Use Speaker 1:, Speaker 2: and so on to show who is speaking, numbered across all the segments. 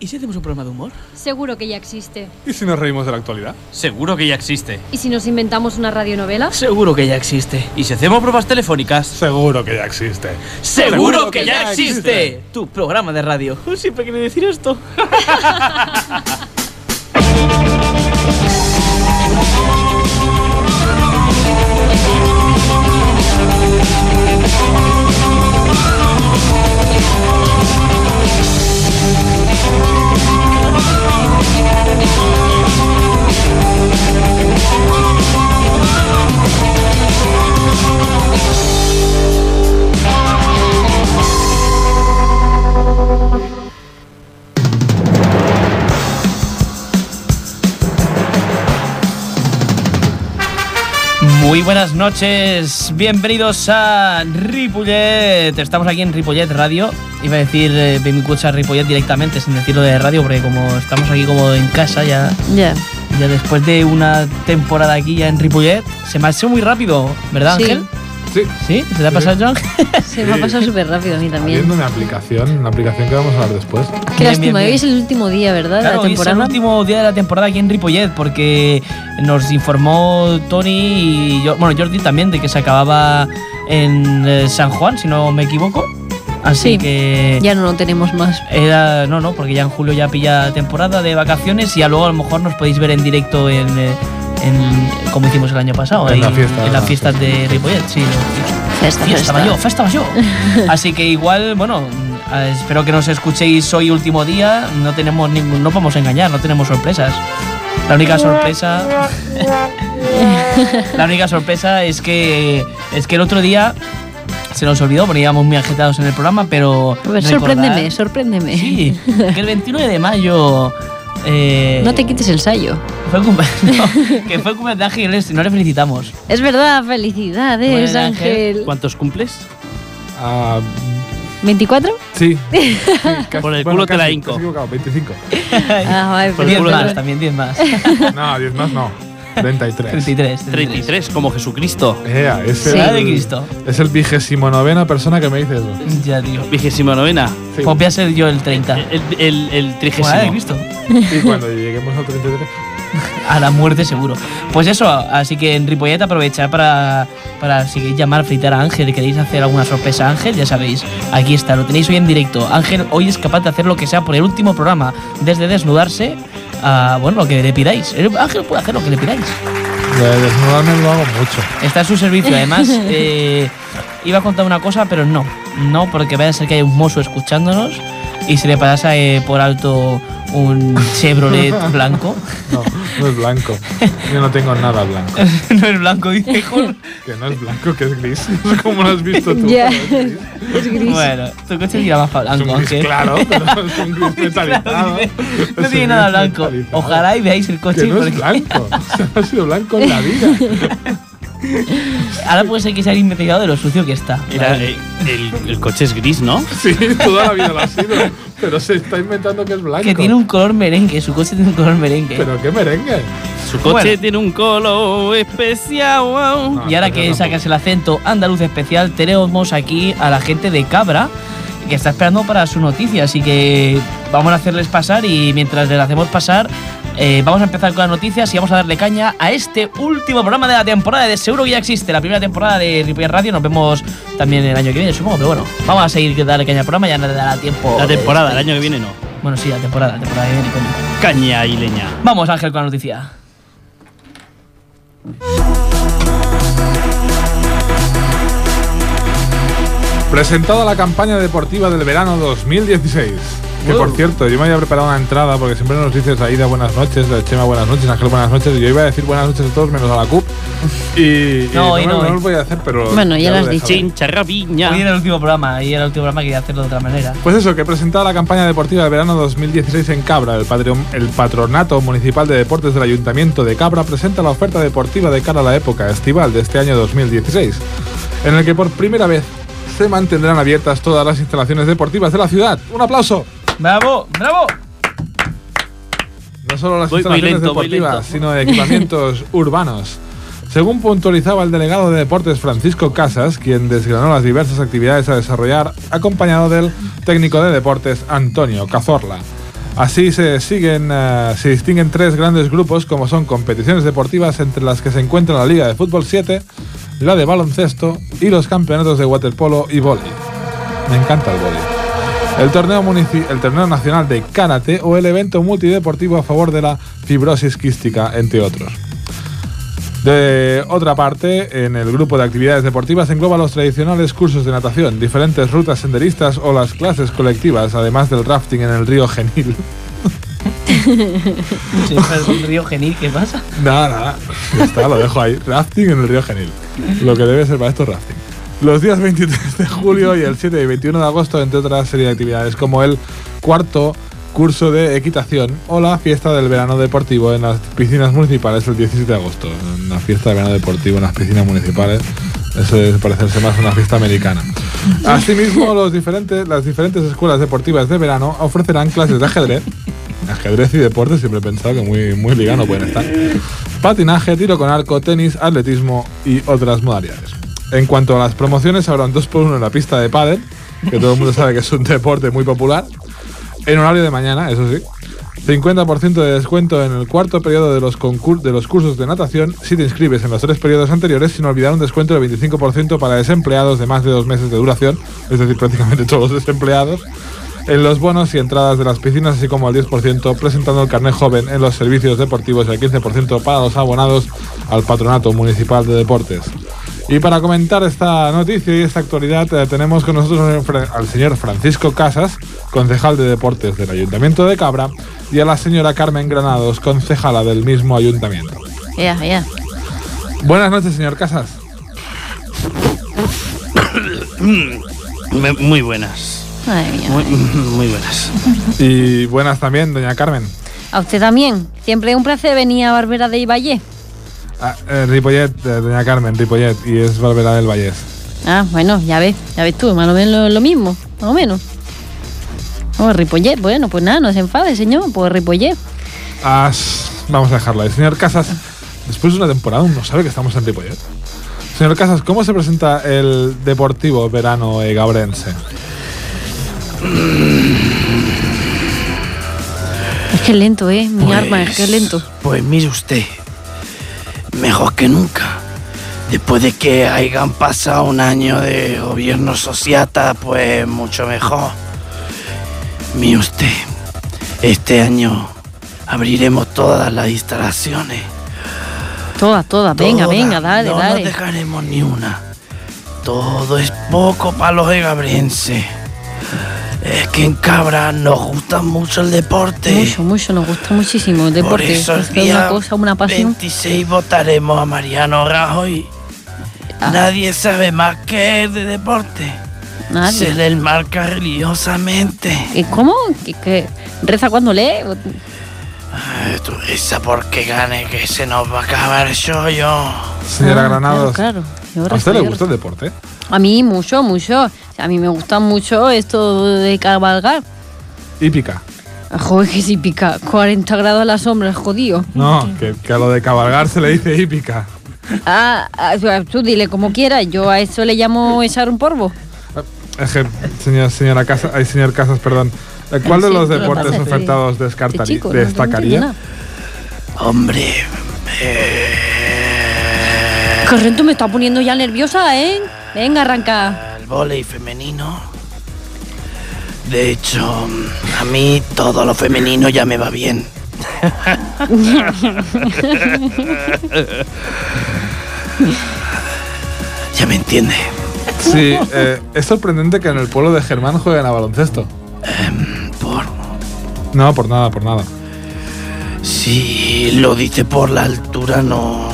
Speaker 1: ¿Y si hacemos un programa de humor?
Speaker 2: Seguro que ya existe.
Speaker 3: ¿Y si nos reímos de la actualidad?
Speaker 4: Seguro que ya existe.
Speaker 2: ¿Y si nos inventamos una radionovela?
Speaker 1: Seguro que ya existe.
Speaker 4: ¿Y si hacemos pruebas telefónicas?
Speaker 3: Seguro que ya existe.
Speaker 4: ¡Seguro que ya existe!
Speaker 1: Tu programa de radio. Siempre quería decir esto.
Speaker 4: Muy buenas noches, bienvenidos a Ripollet. Estamos aquí en Ripollet Radio. Iba a decir eh, bienvenidos a Ripollet directamente sin decirlo de radio, porque como estamos aquí como en casa ya,
Speaker 2: Ya.
Speaker 4: ya después de una temporada aquí ya en Ripollet, se me ha hecho muy rápido, ¿verdad
Speaker 2: Sí.
Speaker 4: Ángel?
Speaker 3: Sí.
Speaker 4: ¿Sí? ¿Se te ha
Speaker 3: Sí.
Speaker 4: pasado, John?
Speaker 2: Se me ha pasado súper rápido a mí también.
Speaker 3: Habiendo una aplicación, una aplicación que vamos a hablar después.
Speaker 2: Qué
Speaker 4: Bien, bien,
Speaker 2: lástima,
Speaker 4: bien.
Speaker 2: hoy es el último día, ¿verdad? de
Speaker 4: Claro,
Speaker 2: la
Speaker 4: hoy es el
Speaker 2: temporada.
Speaker 4: último día de la temporada aquí en Ripollet porque nos informó Tony y yo- bueno, Jordi también de que se acababa en eh, San Juan, si no me equivoco. Así
Speaker 2: Sí.
Speaker 4: que
Speaker 2: Ya no lo tenemos más.
Speaker 4: era no, no, porque ya en julio ya pilla temporada de vacaciones y ya luego a lo mejor nos podéis ver en directo en, eh, en- como hicimos el año pasado
Speaker 3: En la
Speaker 4: ahí,
Speaker 3: fiesta.
Speaker 4: en las fiestas de Ripollet, sí. Fiesta
Speaker 2: Fiesta, fiesta.
Speaker 4: mayor, fiesta mayor. Así que igual, bueno, mm, eh, espero que nos escuchéis hoy último día. No tenemos ningún, no podemos engañar, no tenemos sorpresas. La única sorpresa, la única sorpresa es que es que el otro día se nos olvidó, porque íbamos muy agitados en el programa, pero
Speaker 2: A ver,
Speaker 4: recordad-
Speaker 2: sorpréndeme, sorpréndeme.
Speaker 4: Sí, que el 29 de mayo. eh,
Speaker 2: No te quites el sayo.
Speaker 4: Fue cum- no, que fue cumpleaños de Ángel, Ernest, y no le felicitamos.
Speaker 2: Es verdad, felicidades,
Speaker 4: Bueno, ¿eh?
Speaker 2: Ángel.
Speaker 5: ¿Cuántos cumples?
Speaker 3: Ah,
Speaker 2: ¿24?
Speaker 3: sí. Sí, casi-
Speaker 5: Por el
Speaker 3: bueno,
Speaker 5: culo te la
Speaker 3: casi,
Speaker 5: hinco.
Speaker 3: te has equivocado, 25.
Speaker 2: Ah, vale,
Speaker 5: Por el
Speaker 4: Diez
Speaker 5: culo
Speaker 4: más,
Speaker 5: de-
Speaker 4: también 10 más.
Speaker 3: No, 10 más no. 33.
Speaker 4: 33.
Speaker 5: 33, como Jesucristo.
Speaker 3: Ea, es
Speaker 2: Sí.
Speaker 4: Ciudad
Speaker 3: el,
Speaker 4: de Cristo.
Speaker 3: Es el vigésimo novena persona que me dice eso.
Speaker 4: Ya, tío.
Speaker 5: Vigésima novena.
Speaker 3: Sí.
Speaker 4: Pues voy a ser yo el 30.
Speaker 5: El, el, el
Speaker 4: Ciudad de
Speaker 5: trigésimo.
Speaker 4: Cristo.
Speaker 3: Y cuando lleguemos al 33.
Speaker 4: A la muerte seguro. Pues eso, así que en Ripollet aprovechad para, para si queréis llamar, fritar a Ángel, queréis hacer alguna sorpresa a Ángel, ya sabéis, aquí está, lo tenéis hoy en directo. Ángel hoy es capaz de hacer lo que sea por el último programa, desde desnudarse a, bueno, lo que le pidáis. El- Ángel puede hacer lo que le pidáis.
Speaker 3: Lo de desnudarme lo hago mucho.
Speaker 4: Está a su servicio, además, eh, iba a contar una cosa, pero no, no, porque vaya a ser que hay un mozo escuchándonos y se le pasa eh, por alto un Chevrolet blanco.
Speaker 3: No, no es blanco. Yo no tengo nada blanco.
Speaker 4: no es blanco, dice Jorge.
Speaker 3: Que no es blanco, que es gris. No sé cómo lo has visto tú.
Speaker 2: Ya.
Speaker 3: pero es gris.
Speaker 2: Es gris.
Speaker 4: Bueno, tu coche tira más para
Speaker 3: Es
Speaker 4: blanco,
Speaker 3: un gris
Speaker 4: Ángel.
Speaker 3: claro, pero es un gris metalizado.
Speaker 4: dice.
Speaker 3: Es
Speaker 4: No tiene
Speaker 3: un gris
Speaker 4: nada blanco.
Speaker 3: metalizado.
Speaker 4: Ojalá y veáis el coche.
Speaker 3: Que no es
Speaker 4: porque
Speaker 3: blanco. O sea, no ha sido blanco en la vida.
Speaker 4: ahora puede ser que se haya investigado de lo sucio que está.
Speaker 5: Era,
Speaker 4: ¿vale?
Speaker 5: eh, el, el coche es gris, ¿no?
Speaker 3: Sí, toda la vida lo ha sido. Pero se está inventando que es blanco.
Speaker 4: que tiene un color merengue, su coche tiene un color merengue.
Speaker 3: Pero qué merengue.
Speaker 5: Su coche
Speaker 4: Bueno. Oh.
Speaker 5: tiene un color especial. wow.
Speaker 4: y ahora que
Speaker 3: No,
Speaker 4: sacas el acento andaluz especial, tenemos aquí a la gente de Cabra que está esperando para su noticia. Así que vamos a hacerles pasar y mientras les hacemos pasar, eh, vamos a empezar con las noticias y vamos a darle caña a este último programa de la temporada de Seguro que ya existe, la primera temporada de Ripollet Radio. Nos vemos también el año que viene, supongo, pero bueno, vamos a seguir que darle caña al programa, ya nos dará tiempo.
Speaker 5: La
Speaker 4: de-
Speaker 5: temporada, el año que viene no.
Speaker 4: Bueno, sí, la temporada, la temporada que viene, coño.
Speaker 5: Caña y leña.
Speaker 4: Vamos, Ángel, con la noticia.
Speaker 3: Presentada la campaña deportiva del verano 2016. Que por cierto, yo me había preparado una entrada porque siempre nos dices Aida buenas noches, Chema buenas noches, Ángel buenas noches. y Yo iba a decir buenas noches a todos menos a la CUP. Y, y
Speaker 4: No, hoy
Speaker 3: me-
Speaker 4: no, hoy.
Speaker 3: lo voy a hacer, pero.
Speaker 2: Bueno, ya lo has
Speaker 3: he
Speaker 2: dicho.
Speaker 3: dejado.
Speaker 5: Chincharrabiña.
Speaker 4: Hoy era el último programa, y era el último programa que quería hacerlo de otra manera.
Speaker 3: Pues eso, que presentaba la campaña deportiva del verano 2016 en Cabra. El, patrio- el Patronato Municipal de Deportes del Ayuntamiento de Cabra presenta la oferta deportiva de cara a la época estival de este año 2016, en el que por primera vez se mantendrán abiertas todas las instalaciones deportivas de la ciudad. ¡Un aplauso!
Speaker 4: ¡Bravo! ¡Bravo!
Speaker 3: No solo las
Speaker 5: Voy muy
Speaker 3: instalaciones
Speaker 5: lento, voy
Speaker 3: deportivas,
Speaker 5: lento.
Speaker 3: sino de equipamientos urbanos. Según puntualizaba el delegado de deportes Francisco Casas, quien desgranó las diversas actividades a desarrollar, acompañado del técnico de deportes Antonio Cazorla. Así se siguen, eh, se distinguen tres grandes grupos como son competiciones deportivas entre las que se encuentran la Liga de Fútbol 7, la de baloncesto y los campeonatos de waterpolo y vóley. Me encanta el vóley. El torneo, munici- el torneo nacional de karate o el evento multideportivo a favor de la fibrosis quística, entre otros. De otra parte, en el grupo de actividades deportivas engloba los tradicionales cursos de natación, diferentes rutas senderistas o las clases colectivas, además del rafting en el río Genil.
Speaker 4: Sí, es un río genil, ¿qué pasa?
Speaker 3: Nada, nada. Ya está, lo dejo ahí. Rafting en el río Genil. Lo que debe ser para esto rafting. Los días 23 de julio y el 7 y 21 de agosto, entre otras serie de actividades, como el cuarto curso de equitación o la fiesta del verano deportivo en las piscinas municipales el 17 de agosto. Una fiesta de verano deportivo en las piscinas municipales. Eso es parecerse más a una fiesta americana. Asimismo, los diferentes, las diferentes escuelas deportivas de verano ofrecerán clases de ajedrez, ajedrez y deporte, siempre he pensado que muy, muy ligano pueden estar, patinaje, tiro con arco, tenis, atletismo y otras modalidades. En cuanto a las promociones, habrá un 2x1 en la pista de pádel, que todo el mundo sabe que es un deporte muy popular, en horario de mañana, eso sí. 50% de descuento en el cuarto periodo de los, concur- de los cursos de natación si te inscribes en los tres periodos anteriores, sin olvidar un descuento del 25% para desempleados de más de dos meses de duración, es decir, prácticamente todos los desempleados, en los bonos y entradas de las piscinas, así como el 10% presentando el carnet joven en los servicios deportivos y el 15% para los abonados al Patronato Municipal de Deportes. Y para comentar esta noticia y esta actualidad eh, tenemos con nosotros al fr- al señor Francisco Casas, concejal de deportes del Ayuntamiento de Cabra, y a la señora Carmen Granados, concejala del mismo ayuntamiento.
Speaker 2: Ya, ya.
Speaker 3: Buenas noches, señor Casas.
Speaker 5: Me- Muy buenas.
Speaker 2: Madre mía.
Speaker 5: Muy, muy buenas.
Speaker 3: Y buenas también, doña Carmen.
Speaker 2: A usted también. Siempre es un placer venir a Barbera de Iballe.
Speaker 3: Ah, eh, Ripollet, eh, doña Carmen, Ripollet, y es Barbera del Vallés.
Speaker 2: Ah, bueno, ya ves, ya ves tú, más o menos lo, lo mismo, más o menos. Oh, Ripollet, bueno, pues nada, no se enfade, señor, pues Ripollet.
Speaker 3: Ah, s- vamos a dejarlo ahí. Señor Casas, después de una temporada uno sabe que estamos en Ripollet. Señor Casas, ¿cómo se presenta el Deportivo Verano eh, Gabrense?
Speaker 2: Es que es lento, ¿eh? Mi arma, es que es lento.
Speaker 6: Pues mire usted, mejor que nunca. Después de que hayan pasado un año de gobierno sociata, pues mucho mejor. Mire usted, este año abriremos todas las instalaciones.
Speaker 2: Todas, todas, venga,
Speaker 6: Todas.
Speaker 2: venga, dale,
Speaker 6: no
Speaker 2: dale.
Speaker 6: No dejaremos ni una. Todo es poco para los egabrenses. Es que en Cabra nos gusta mucho el deporte.
Speaker 2: Mucho, mucho, nos gusta muchísimo el
Speaker 6: Por
Speaker 2: deporte.
Speaker 6: esos
Speaker 2: Es que es
Speaker 6: días
Speaker 2: una cosa, una pasión.
Speaker 6: 26 votaremos a Mariano Rajoy.
Speaker 2: Ah.
Speaker 6: Nadie sabe más que él de deporte. Se
Speaker 2: Nadie.
Speaker 6: le marca religiosamente.
Speaker 2: ¿Qué- ¿Cómo? ¿Qué, qué? reza cuando lee? Ah,
Speaker 6: Ay, tú risa porque gane que se nos va a acabar el chollo.
Speaker 3: Señora
Speaker 2: Ah,
Speaker 3: Granados,
Speaker 2: Claro, claro. Yo
Speaker 3: ¿a usted le
Speaker 2: rezo, yo
Speaker 3: gusta el deporte?
Speaker 2: rezo. A mí mucho, mucho. O sea, a mí me gusta mucho esto de cabalgar.
Speaker 3: Hípica.
Speaker 2: Joder, que si pica 40 grados a la sombra, jodido.
Speaker 3: No, que, que a lo de cabalgar se le dice hípica.
Speaker 2: Ah, ah, tú dile como quieras, yo a eso le llamo echar un polvo.
Speaker 3: Es que, señor, señora Casas, ay, señor Casas, perdón. Eh, ¿Cuál de
Speaker 2: Sí,
Speaker 3: los
Speaker 2: tú lo
Speaker 3: deportes
Speaker 2: pasas,
Speaker 3: ofertados
Speaker 2: Este
Speaker 3: descartaría,
Speaker 2: chico, no, no
Speaker 3: destacaría?
Speaker 2: entiendo
Speaker 6: Hombre.
Speaker 2: nada.
Speaker 6: eh,
Speaker 2: Corren, tú me está poniendo ya nerviosa, ¿eh? Venga, arranca.
Speaker 6: el vóley femenino. De hecho, a mí todo lo femenino ya me va bien. ya me entiende.
Speaker 3: sí, eh, es sorprendente que en el pueblo de Germán jueguen a baloncesto.
Speaker 6: Por
Speaker 3: No, por nada, por nada.
Speaker 6: si lo dice por la altura, no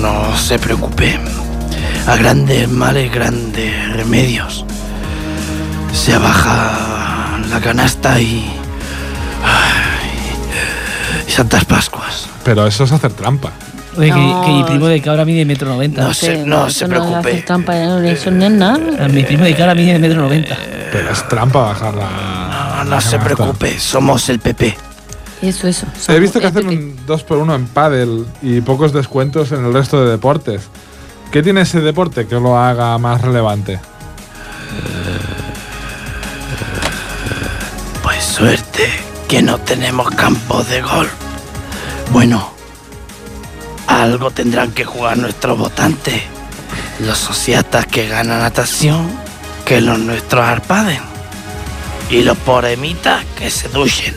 Speaker 6: no se preocupe. A grandes males, grandes remedios. Se baja la canasta y ay, y Santas Pascuas.
Speaker 3: Pero eso es hacer trampa.
Speaker 4: Oye, que,
Speaker 2: No.
Speaker 4: que mi primo de cabra mide metro noventa.
Speaker 6: No se- no se
Speaker 2: eso No
Speaker 6: preocupe.
Speaker 2: hace trampa, no, eso no es nada.
Speaker 4: Ah, Mi primo de cabra mide metro noventa.
Speaker 2: Eh,
Speaker 4: Eh,
Speaker 3: Pero es trampa bajar la.
Speaker 6: No, no
Speaker 3: la
Speaker 6: se
Speaker 3: canasta.
Speaker 6: preocupe, somos el PP.
Speaker 2: Eso, eso. Este
Speaker 3: He visto que hacen un 2x1 en pádel y pocos descuentos en el resto de deportes. ¿Qué tiene ese deporte que lo haga más relevante?
Speaker 6: Pues Suerte que no tenemos campos de golf. Bueno, algo tendrán que jugar nuestros votantes, los sociatas que ganan natación, que los nuestros arpaden, y los poremitas que se duchen.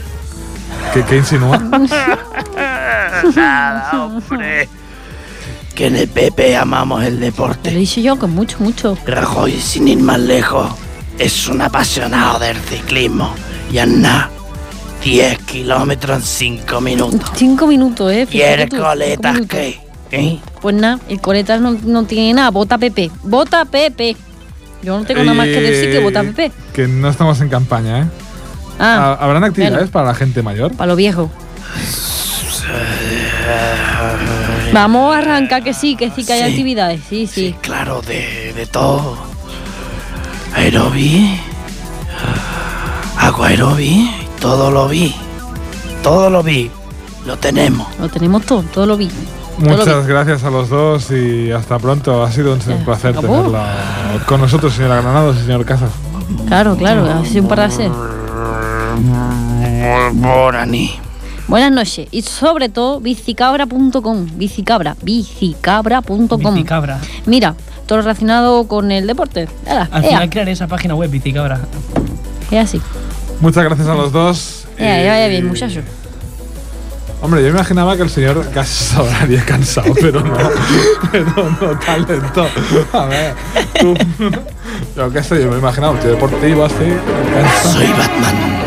Speaker 3: ¿Qué, qué insinúa?
Speaker 6: Nada, hombre. Que en el PP amamos el
Speaker 2: Te lo
Speaker 6: deporte.
Speaker 2: hice yo con mucho, mucho.
Speaker 6: Rajoy, sin ir más lejos, es un apasionado del ciclismo. Y anda 10 kilómetros en 5 minutos.
Speaker 2: Cinco minutos, ¿eh?
Speaker 6: Y
Speaker 2: Fíjate
Speaker 6: el
Speaker 2: tú,
Speaker 6: coletas
Speaker 2: cinco minutos.
Speaker 6: que. ¿eh?
Speaker 2: Pues nada, el coletas no, no tiene nada. Vota Pepe. Vota Pepe. Yo no tengo nada más que decir que vota Pepe.
Speaker 3: Eh, Que no estamos en campaña, ¿eh?
Speaker 2: Ah,
Speaker 3: Ha- ¿Habrán actividades
Speaker 2: bueno.
Speaker 3: para la gente mayor?
Speaker 2: para lo viejo. Vamos a arrancar que sí, que sí, que hay
Speaker 6: Eh, Sí.
Speaker 2: actividades. Sí, sí.
Speaker 6: Sí, claro, de, de todo. Aerobí. Hago aerobí. Todo lo vi. Todo lo vi. Lo tenemos.
Speaker 2: Lo tenemos todo, todo lo vi. Todo lo
Speaker 3: Muchas gracias a los dos y hasta pronto. Ha sido un
Speaker 2: Ya,
Speaker 3: placer
Speaker 2: acabó.
Speaker 3: tenerla con nosotros, señora Granados y señor Cazas.
Speaker 2: vi. Claro, claro,
Speaker 4: Mm.
Speaker 2: ha sido un placer.
Speaker 6: Borani.
Speaker 2: Buenas noches. Y sobre todo, bicicabra.com. Bicicabra, bicicabra.com.
Speaker 4: Bicicabra.
Speaker 2: Mira, todo lo relacionado con el deporte. Ala,
Speaker 4: Al
Speaker 2: ea,
Speaker 4: final crearé esa página web, Bicicabra.
Speaker 2: es así.
Speaker 3: Muchas gracias a los dos.
Speaker 2: Ea,
Speaker 3: y-
Speaker 2: que vaya
Speaker 4: Eh,
Speaker 2: bien, muchacho.
Speaker 3: Hombre, yo imaginaba que el señor Casas habría cansado, pero no. pero no talento. A ver, tú. Yo qué sé, yo me imaginaba un tío deportivo así. cansado.
Speaker 6: Soy Batman.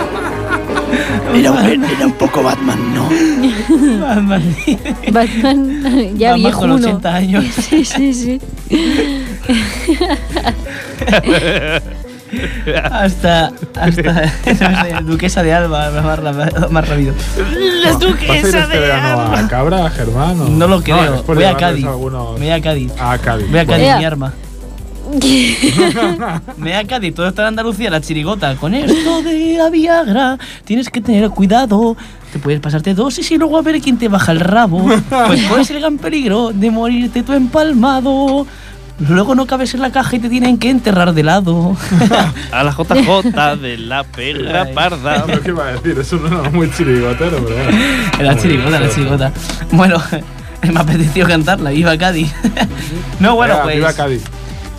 Speaker 6: Era, un- era un poco Batman, ¿no?
Speaker 4: Ah,
Speaker 2: Batman, ya
Speaker 4: Batman
Speaker 2: viejo
Speaker 4: con
Speaker 2: uno.
Speaker 4: 80 años.
Speaker 2: Sí, sí, sí.
Speaker 4: Hasta. Hasta. Duquesa de Alba, más, ra- más rápido.
Speaker 3: ¿Vas a ir este verano a Cabra, Germán? o-
Speaker 4: No lo
Speaker 3: es
Speaker 4: creo.
Speaker 3: por
Speaker 4: voy a
Speaker 3: llevarles
Speaker 4: Cádiz.
Speaker 3: algunos-
Speaker 4: Me voy a Cádiz.
Speaker 3: A Cádiz.
Speaker 4: Voy a Cádiz,
Speaker 2: Ea.
Speaker 4: mi arma. Me da Cádiz, todo está en Andalucía, la chirigota. Con esto de la Viagra tienes que tener cuidado. Te puedes pasarte dosis y luego a ver quién te baja el rabo. Pues corres el gran peligro de morirte tú empalmado. Luego no cabes en la caja y te tienen que enterrar de lado.
Speaker 5: A la JJ de la perra
Speaker 4: Ay.
Speaker 5: parda.
Speaker 3: Lo que iba a decir, eso no era muy chirigotero, pero bueno.
Speaker 4: La chirigota, la chirigota. Bueno, me apeteció cantarla. Viva Cádiz. No, bueno,
Speaker 3: Venga,
Speaker 4: pues.
Speaker 3: viva Cádiz.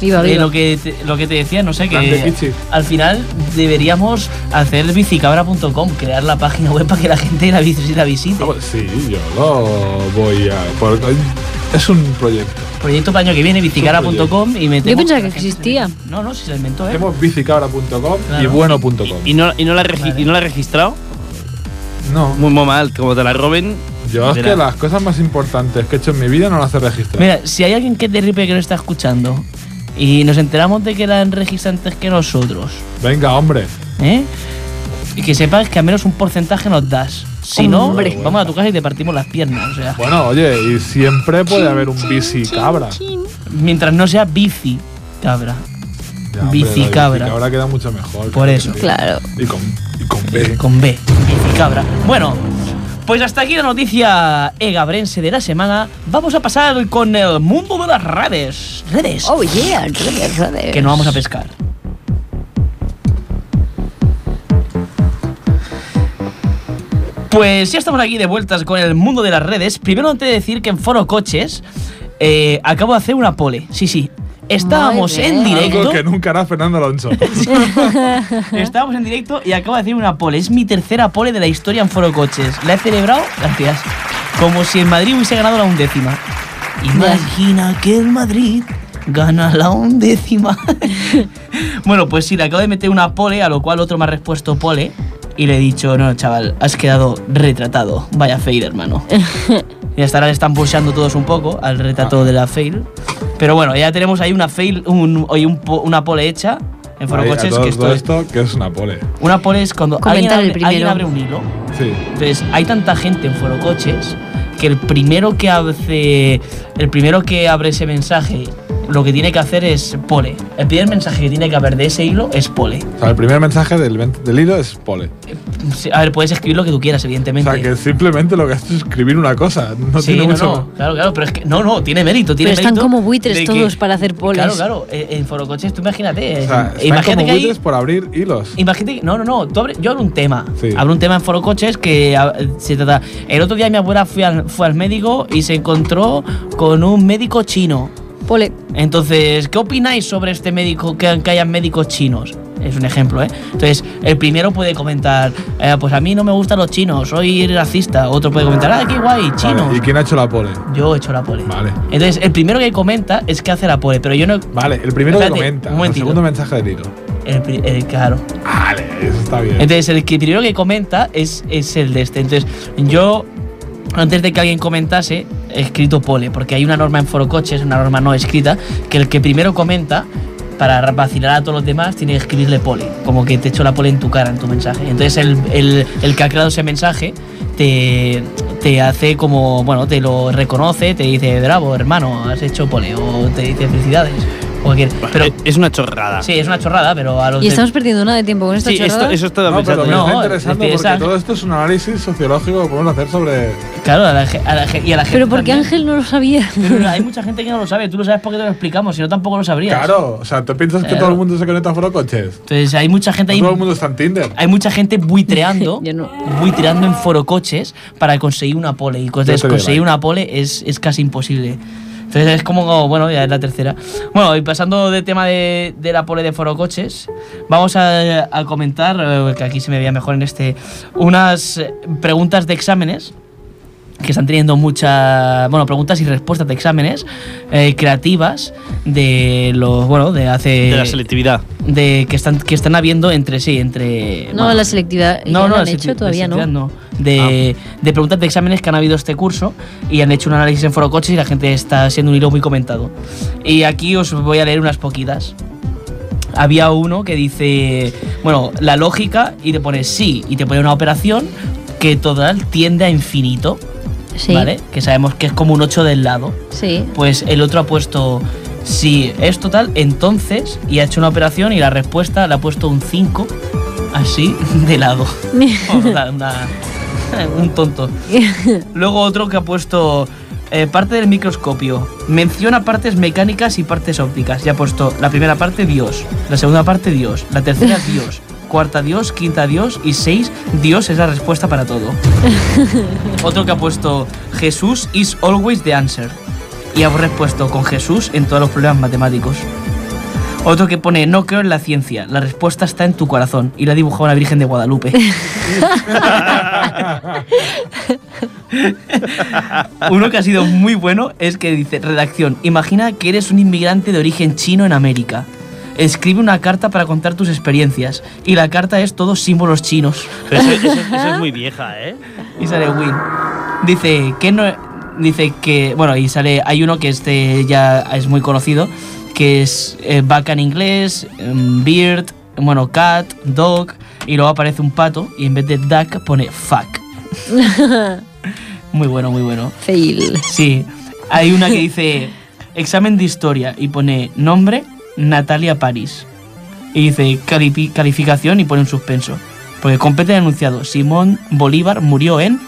Speaker 2: Viva,
Speaker 4: Eh,
Speaker 2: viva.
Speaker 4: lo, que te, lo que te decía, no sé,
Speaker 3: Grande
Speaker 4: que
Speaker 3: Kichi.
Speaker 4: al final deberíamos hacer bicicabra.com, crear la página web para que la gente la, vis- la visite.
Speaker 3: Ah, pues sí, yo lo voy a. por- es un proyecto.
Speaker 4: Proyecto para el año que viene, bicicabra.com y metemos...
Speaker 2: Yo pensaba
Speaker 4: la
Speaker 2: que
Speaker 4: gente-
Speaker 2: existía.
Speaker 4: No, no, si se la inventó, ¿eh?
Speaker 3: Hacemos bicicabra.com y
Speaker 4: Claro.
Speaker 3: bueno.com.
Speaker 5: Y no, y no la regi-
Speaker 4: Vale.
Speaker 5: y no la he registrado.
Speaker 3: No,
Speaker 5: Muy, muy mal, como te la roben.
Speaker 3: yo es
Speaker 5: Verá.
Speaker 3: que las cosas más importantes que he hecho en mi vida no las he registrado.
Speaker 4: Mira, si hay alguien que es de Ripe que lo está escuchando y nos enteramos de que la han registrado antes que nosotros,
Speaker 3: Venga, hombre.
Speaker 4: ¿eh? Y que sepas que al menos un porcentaje nos das. Si no,
Speaker 2: Hombre.
Speaker 4: vamos a tu casa y te partimos las piernas. O sea,
Speaker 3: Bueno, oye, y siempre puede haber un bicicabra.
Speaker 4: mientras no sea bici, cabra.
Speaker 3: Ya, hombre, la
Speaker 4: Bicicabra.
Speaker 3: Bicicabra queda mucho mejor.
Speaker 4: Por eso.
Speaker 2: Claro.
Speaker 3: Y con, y con B.
Speaker 4: con B, cabra. Bueno, pues hasta aquí la noticia egabrense de la semana. Vamos a pasar con el mundo de las redes. Redes.
Speaker 2: Oh, yeah. redes, redes.
Speaker 4: Que no vamos a pescar. Pues ya estamos aquí de vueltas con el mundo de las redes. Primero antes de decir que en Foro Coches eh, acabo de hacer una pole. Sí, sí. Estábamos
Speaker 2: Muy
Speaker 4: en
Speaker 2: bien.
Speaker 4: directo.
Speaker 3: Algo que nunca hará Fernando Alonso.
Speaker 4: Estábamos en directo y acabo de hacer una pole. Es mi tercera pole de la historia en Foro Coches. La he celebrado, gracias, como si en Madrid hubiese ganado la undécima. Imagina que el Madrid gana la undécima. bueno, pues sí, le acabo de meter una pole, a lo cual otro me ha respuesto pole. Y le he dicho, no, chaval, has quedado retratado. Vaya fail, hermano. Y hasta ahora le están bucheando todos un poco al retrato de la fail. Pero bueno, ya tenemos ahí una fail, un, hoy un po- una pole hecha en Foro
Speaker 3: Ahí, a
Speaker 4: Coches.
Speaker 3: todo-
Speaker 4: que
Speaker 3: todo
Speaker 4: estoy-
Speaker 3: esto que es una pole.
Speaker 4: una pole es cuando alguien
Speaker 2: Comentar el
Speaker 4: abre, alguien
Speaker 2: primero.
Speaker 4: abre un hilo.
Speaker 3: Sí.
Speaker 4: Entonces, hay tanta gente en Foro Coches que el primero que hace. El primero que abre ese mensaje lo que tiene que hacer es pole. El primer mensaje que tiene que haber de ese hilo es pole.
Speaker 3: O sea, el primer mensaje del, ven- del hilo es pole.
Speaker 4: Sí, A ver, puedes escribir lo que tú quieras,
Speaker 3: O
Speaker 4: evidentemente.
Speaker 3: sea, que simplemente lo que haces es escribir una cosa. No
Speaker 4: sí,
Speaker 3: tiene
Speaker 4: no,
Speaker 3: mucho.
Speaker 4: no, claro, claro, pero es que no, no, tiene mérito, tiene
Speaker 2: Pero están
Speaker 4: mérito
Speaker 2: como buitres
Speaker 4: de que-
Speaker 2: todos para hacer poles.
Speaker 4: Claro, claro, eh, en forocoches tú imagínate,
Speaker 3: O
Speaker 4: eh,
Speaker 3: sea, están
Speaker 4: imagínate
Speaker 3: como
Speaker 4: que hay
Speaker 3: buitres por abrir hilos.
Speaker 4: Imagínate que. No, no, no. tú abre- yo abro un tema.
Speaker 3: Sí.
Speaker 4: Abro un tema en Foro Coches que a- se trata. El otro día mi abuela fue al, fue al médico y se encontró con un médico chino.
Speaker 2: Pole.
Speaker 4: Entonces, ¿qué opináis sobre este médico que, que hayan médicos chinos? Es un ejemplo, ¿eh? Entonces, el primero puede comentar, eh, pues a mí no me gustan los chinos, soy racista. Otro puede comentar, ah, qué guay,
Speaker 3: Vale,
Speaker 4: chinos.
Speaker 3: ¿Y quién ha hecho la pole?
Speaker 4: Yo he hecho la pole.
Speaker 3: Vale.
Speaker 4: Entonces, el primero que comenta es que hace la pole, pero yo no.
Speaker 3: Vale, el primero que
Speaker 4: Espérate,
Speaker 3: comenta.
Speaker 4: un
Speaker 3: El
Speaker 4: momentito.
Speaker 3: segundo mensaje del hilo.
Speaker 4: El, pri- el- claro.
Speaker 3: Vale, eso está bien.
Speaker 4: Entonces, el que primero que comenta es, es el de este. Entonces, yo, antes de que alguien comentase, he escrito pole, porque hay una norma en Foro Coches, una norma no escrita, que el que primero comenta, para vacilar a todos los demás, tiene que escribirle pole. Como que te echo la pole en tu cara, en tu mensaje. Entonces, el, el- el que ha creado ese mensaje te, te hace como, bueno, te lo reconoce, te dice, bravo, hermano, has hecho pole, o te dice felicidades. o cualquier- Pero,
Speaker 5: Eh, es una
Speaker 6: ah.
Speaker 5: chorrada.
Speaker 4: sí, es una chorrada, pero a los
Speaker 2: Y
Speaker 4: de-
Speaker 2: estamos perdiendo nada de tiempo con esta
Speaker 5: Sí, esto,
Speaker 2: chorrada.
Speaker 5: eso estaba
Speaker 3: No, pero
Speaker 5: pensando.
Speaker 3: me
Speaker 4: no,
Speaker 3: está
Speaker 4: es
Speaker 3: interesando
Speaker 4: decir,
Speaker 3: porque
Speaker 4: esa-
Speaker 3: todo esto es un análisis sociológico que podemos hacer sobre.
Speaker 4: Claro, a la, ge- a la ge- y a la gente.
Speaker 2: Pero porque
Speaker 4: también.
Speaker 2: Ángel no lo sabía.
Speaker 4: Pero hay mucha gente que no lo sabe, tú lo sabes porque te lo explicamos, si no tampoco lo sabrías.
Speaker 3: Claro, o sea, ¿tú piensas que
Speaker 4: Claro.
Speaker 3: todo el mundo se conecta a forocoches?
Speaker 4: Entonces hay mucha gente ahí,
Speaker 3: Todo el mundo está en Tinder.
Speaker 4: hay mucha gente buitreando,
Speaker 2: Yo no.
Speaker 4: buitreando en forocoches para conseguir una pole. Y entonces,
Speaker 3: te digo,
Speaker 4: conseguir
Speaker 3: ahí.
Speaker 4: una pole es, es casi imposible. Entonces es como, oh, bueno, ya es la tercera. Bueno, y pasando del tema de, de la pole de forocoches, vamos a, a comentar, eh, que aquí se me veía mejor en este, unas eh, preguntas de exámenes que están teniendo muchas bueno preguntas y respuestas de exámenes eh, creativas de los bueno de hace
Speaker 5: De la selectividad.
Speaker 4: de que están que están habiendo entre sí entre
Speaker 2: No,
Speaker 4: bueno,
Speaker 2: la selectividad. ya
Speaker 4: no,
Speaker 2: la
Speaker 4: no,
Speaker 2: han
Speaker 4: la
Speaker 2: hecho
Speaker 4: selectividad- la
Speaker 2: todavía, ¿no? Ah.
Speaker 4: selectividad De, de preguntas de exámenes que han habido este curso y han hecho un análisis en Foro Coches y la gente está siendo un hilo muy comentado. Y aquí os voy a leer unas poquitas. Había uno que dice, bueno, la lógica y te pone sí y te pone una operación que total tiende a infinito,
Speaker 2: Sí.
Speaker 4: ¿vale? Que sabemos que es como un 8 del lado.
Speaker 2: Sí.
Speaker 4: Pues el otro ha puesto, si es total, entonces, y ha hecho una operación y la respuesta le ha puesto un 5, así, de lado. Bueno, una- una- un tonto. Luego otro que ha puesto eh, parte del microscopio. Menciona partes mecánicas y partes ópticas. Y ha puesto la primera parte Dios, la segunda parte Dios, la tercera Dios, cuarta Dios, quinta Dios y seis Dios es la respuesta para todo. Otro que ha puesto Jesús is always the answer. Y ha respuesto con Jesús en todos los problemas matemáticos. Otro que pone no creo en la ciencia, la respuesta está en tu corazón. Y la ha dibujado la Virgen de Guadalupe. Uno que ha sido muy bueno es que dice, redacción, imagina que eres un inmigrante de origen chino en América. Escribe una carta para contar tus experiencias. Y la carta es todos símbolos chinos.
Speaker 5: Pero eso, eso- eso es muy vieja, ¿eh?
Speaker 4: Y sale Win. Dice que no. Dice que. Bueno, y sale. Hay uno que este ya es muy conocido. Que es eh, vaca en inglés, em, beard, bueno, cat, dog. Y luego aparece un pato. Y en vez de duck pone fuck. muy bueno, muy bueno.
Speaker 2: Fail.
Speaker 4: Sí. Hay una que dice. Examen de historia. Y pone nombre Natalia París. Y dice "Calipi- calificación y pone un suspenso. Porque compete el enunciado. Simón Bolívar murió en.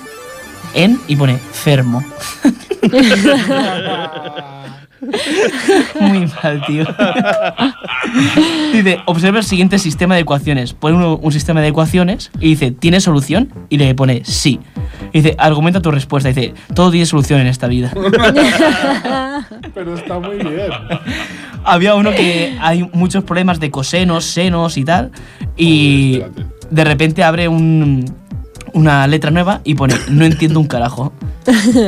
Speaker 4: En y pone fermo. Muy mal, tío. dice, observa el siguiente sistema de ecuaciones. Pone uno- un, sistema de ecuaciones y dice, ¿tiene solución? Y le pone sí. Y dice, argumenta tu respuesta. Y dice, todo tiene solución en esta vida.
Speaker 3: Pero está muy bien.
Speaker 4: Había uno que hay muchos problemas de cosenos, senos y tal. Y
Speaker 3: Uy, espérate.
Speaker 4: de repente abre un- una letra nueva y pone, no entiendo un carajo.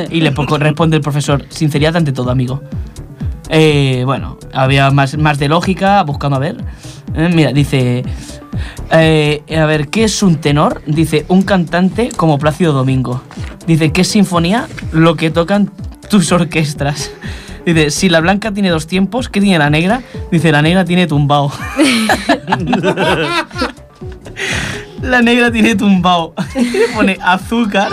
Speaker 4: Y le po- responde el profesor, sinceridad ante todo, amigo. Eh, bueno, había más, más de lógica, buscando a ver. Eh, mira, dice... eh, a ver, ¿qué es un tenor? Dice, un cantante como Plácido Domingo. Dice, ¿qué es sinfonía? Lo que tocan tus orquestas. Dice, si la blanca tiene dos tiempos, ¿qué tiene la negra? Dice, la negra tiene tumbao. la negra tiene tumbao. Le pone azúcar.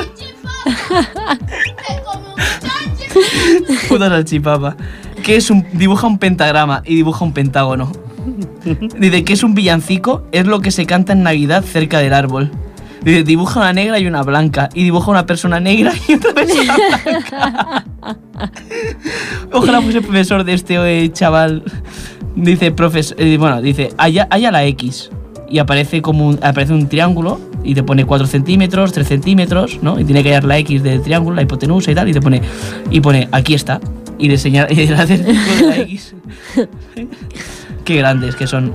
Speaker 4: Puta salchipapa. que es un. dibuja un pentagrama y dibuja un pentágono. Dice que es un villancico, es lo que se canta en Navidad cerca del árbol. Dice, dibuja una negra y una blanca. Y dibuja una persona negra y otra persona blanca. Ojalá fuese profesor de este eh, chaval. Dice, profesor. bueno, dice, allá, allá la X. Y aparece como un, aparece un triángulo y te pone 4 centímetros, 3 centímetros, ¿no? Y tiene que hallar la X del triángulo, la hipotenusa y tal. Y te pone, y pone, aquí está. Y le señala y le hace el círculo de la X. Qué grandes que son.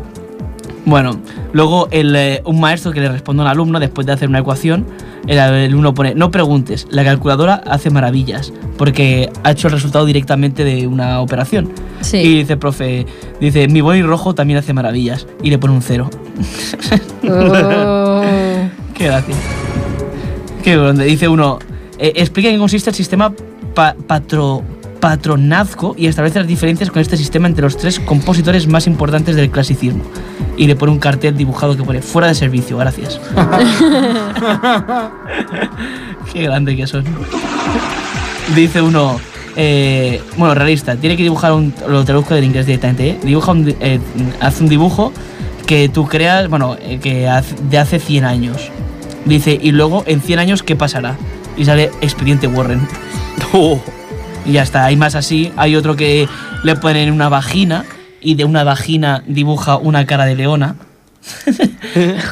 Speaker 4: Bueno, luego el, eh, un maestro que le responde a un alumno después de hacer una ecuación, el alumno pone, no preguntes, la calculadora hace maravillas, porque ha hecho el resultado directamente de una operación.
Speaker 2: Sí.
Speaker 4: Y dice, profe, dice, mi boli rojo también hace maravillas, y le pone un cero.
Speaker 2: Oh.
Speaker 4: Qué gracia. Qué grande. Dice uno, eh, explica en qué consiste el sistema pa- patro- patronazco y establece las diferencias con este sistema entre los tres compositores más importantes del clasicismo. Y le pone un cartel dibujado que pone fuera de servicio, gracias. Qué grande que son. Dice uno, eh, bueno, realista, tiene que dibujar un, lo traduzco del inglés directamente, ¿eh? dibuja un, di- eh, hace un dibujo que tú creas, bueno, eh, que hace- de hace 100 años. Dice, y luego en 100 años, ¿qué pasará? Y sale Expediente Warren. Y ya está, hay más así. Hay otro que le ponen una vagina y de una vagina dibuja una cara de leona.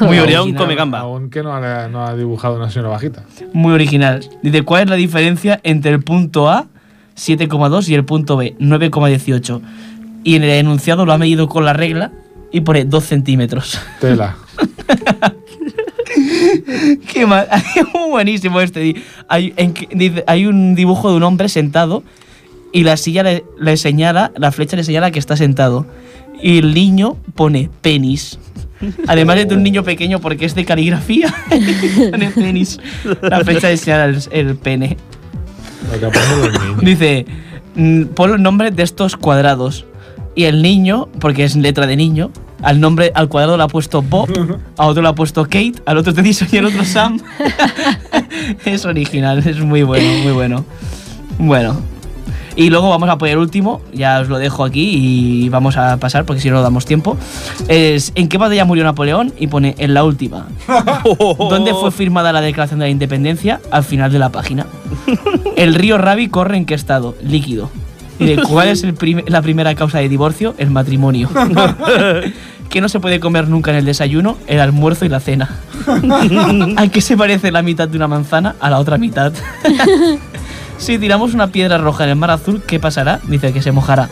Speaker 5: Muy
Speaker 4: original.
Speaker 5: un come gamba.
Speaker 3: Aún que no ha, no ha dibujado una señora bajita.
Speaker 4: Muy original. Dice, ¿cuál es la diferencia entre el punto A, 7,2, y el punto B, 9,18? Y en el enunciado lo ha medido con la regla y pone 2 centímetros.
Speaker 3: Tela.
Speaker 4: Qué mal. Muy buenísimo este. Di- Hay, en que- dice- hay un dibujo de un hombre sentado y la silla le, le señala, la flecha le señala que está sentado. Y el niño pone penis. Además es de un niño pequeño porque es de caligrafía. pone penis. La flecha le señala el, el pene.
Speaker 3: Lo que aprenden los niños.
Speaker 4: Dice, mm, pon los nombres de estos cuadrados. Y el niño, porque es letra de niño, al nombre al cuadrado le ha puesto Bob, a otro le ha puesto Kate, al otro Tennyson y al otro Sam. es original, es muy bueno, muy bueno. Bueno. Y luego vamos a poner el último, ya os lo dejo aquí y vamos a pasar porque si no, no damos tiempo. Es ¿En qué batalla murió Napoleón? Y pone en la última. ¿Dónde fue firmada la Declaración de la Independencia? Al final de la página. ¿El río Ravi corre en qué estado? Líquido. Dice, ¿Cuál es el prim- la primera causa de divorcio? El matrimonio. ¿Qué no se puede comer nunca en el desayuno? El almuerzo y la cena. ¿A qué se parece la mitad de una manzana a la otra mitad? si tiramos una piedra roja en el mar azul, ¿qué pasará? Dice que se mojará.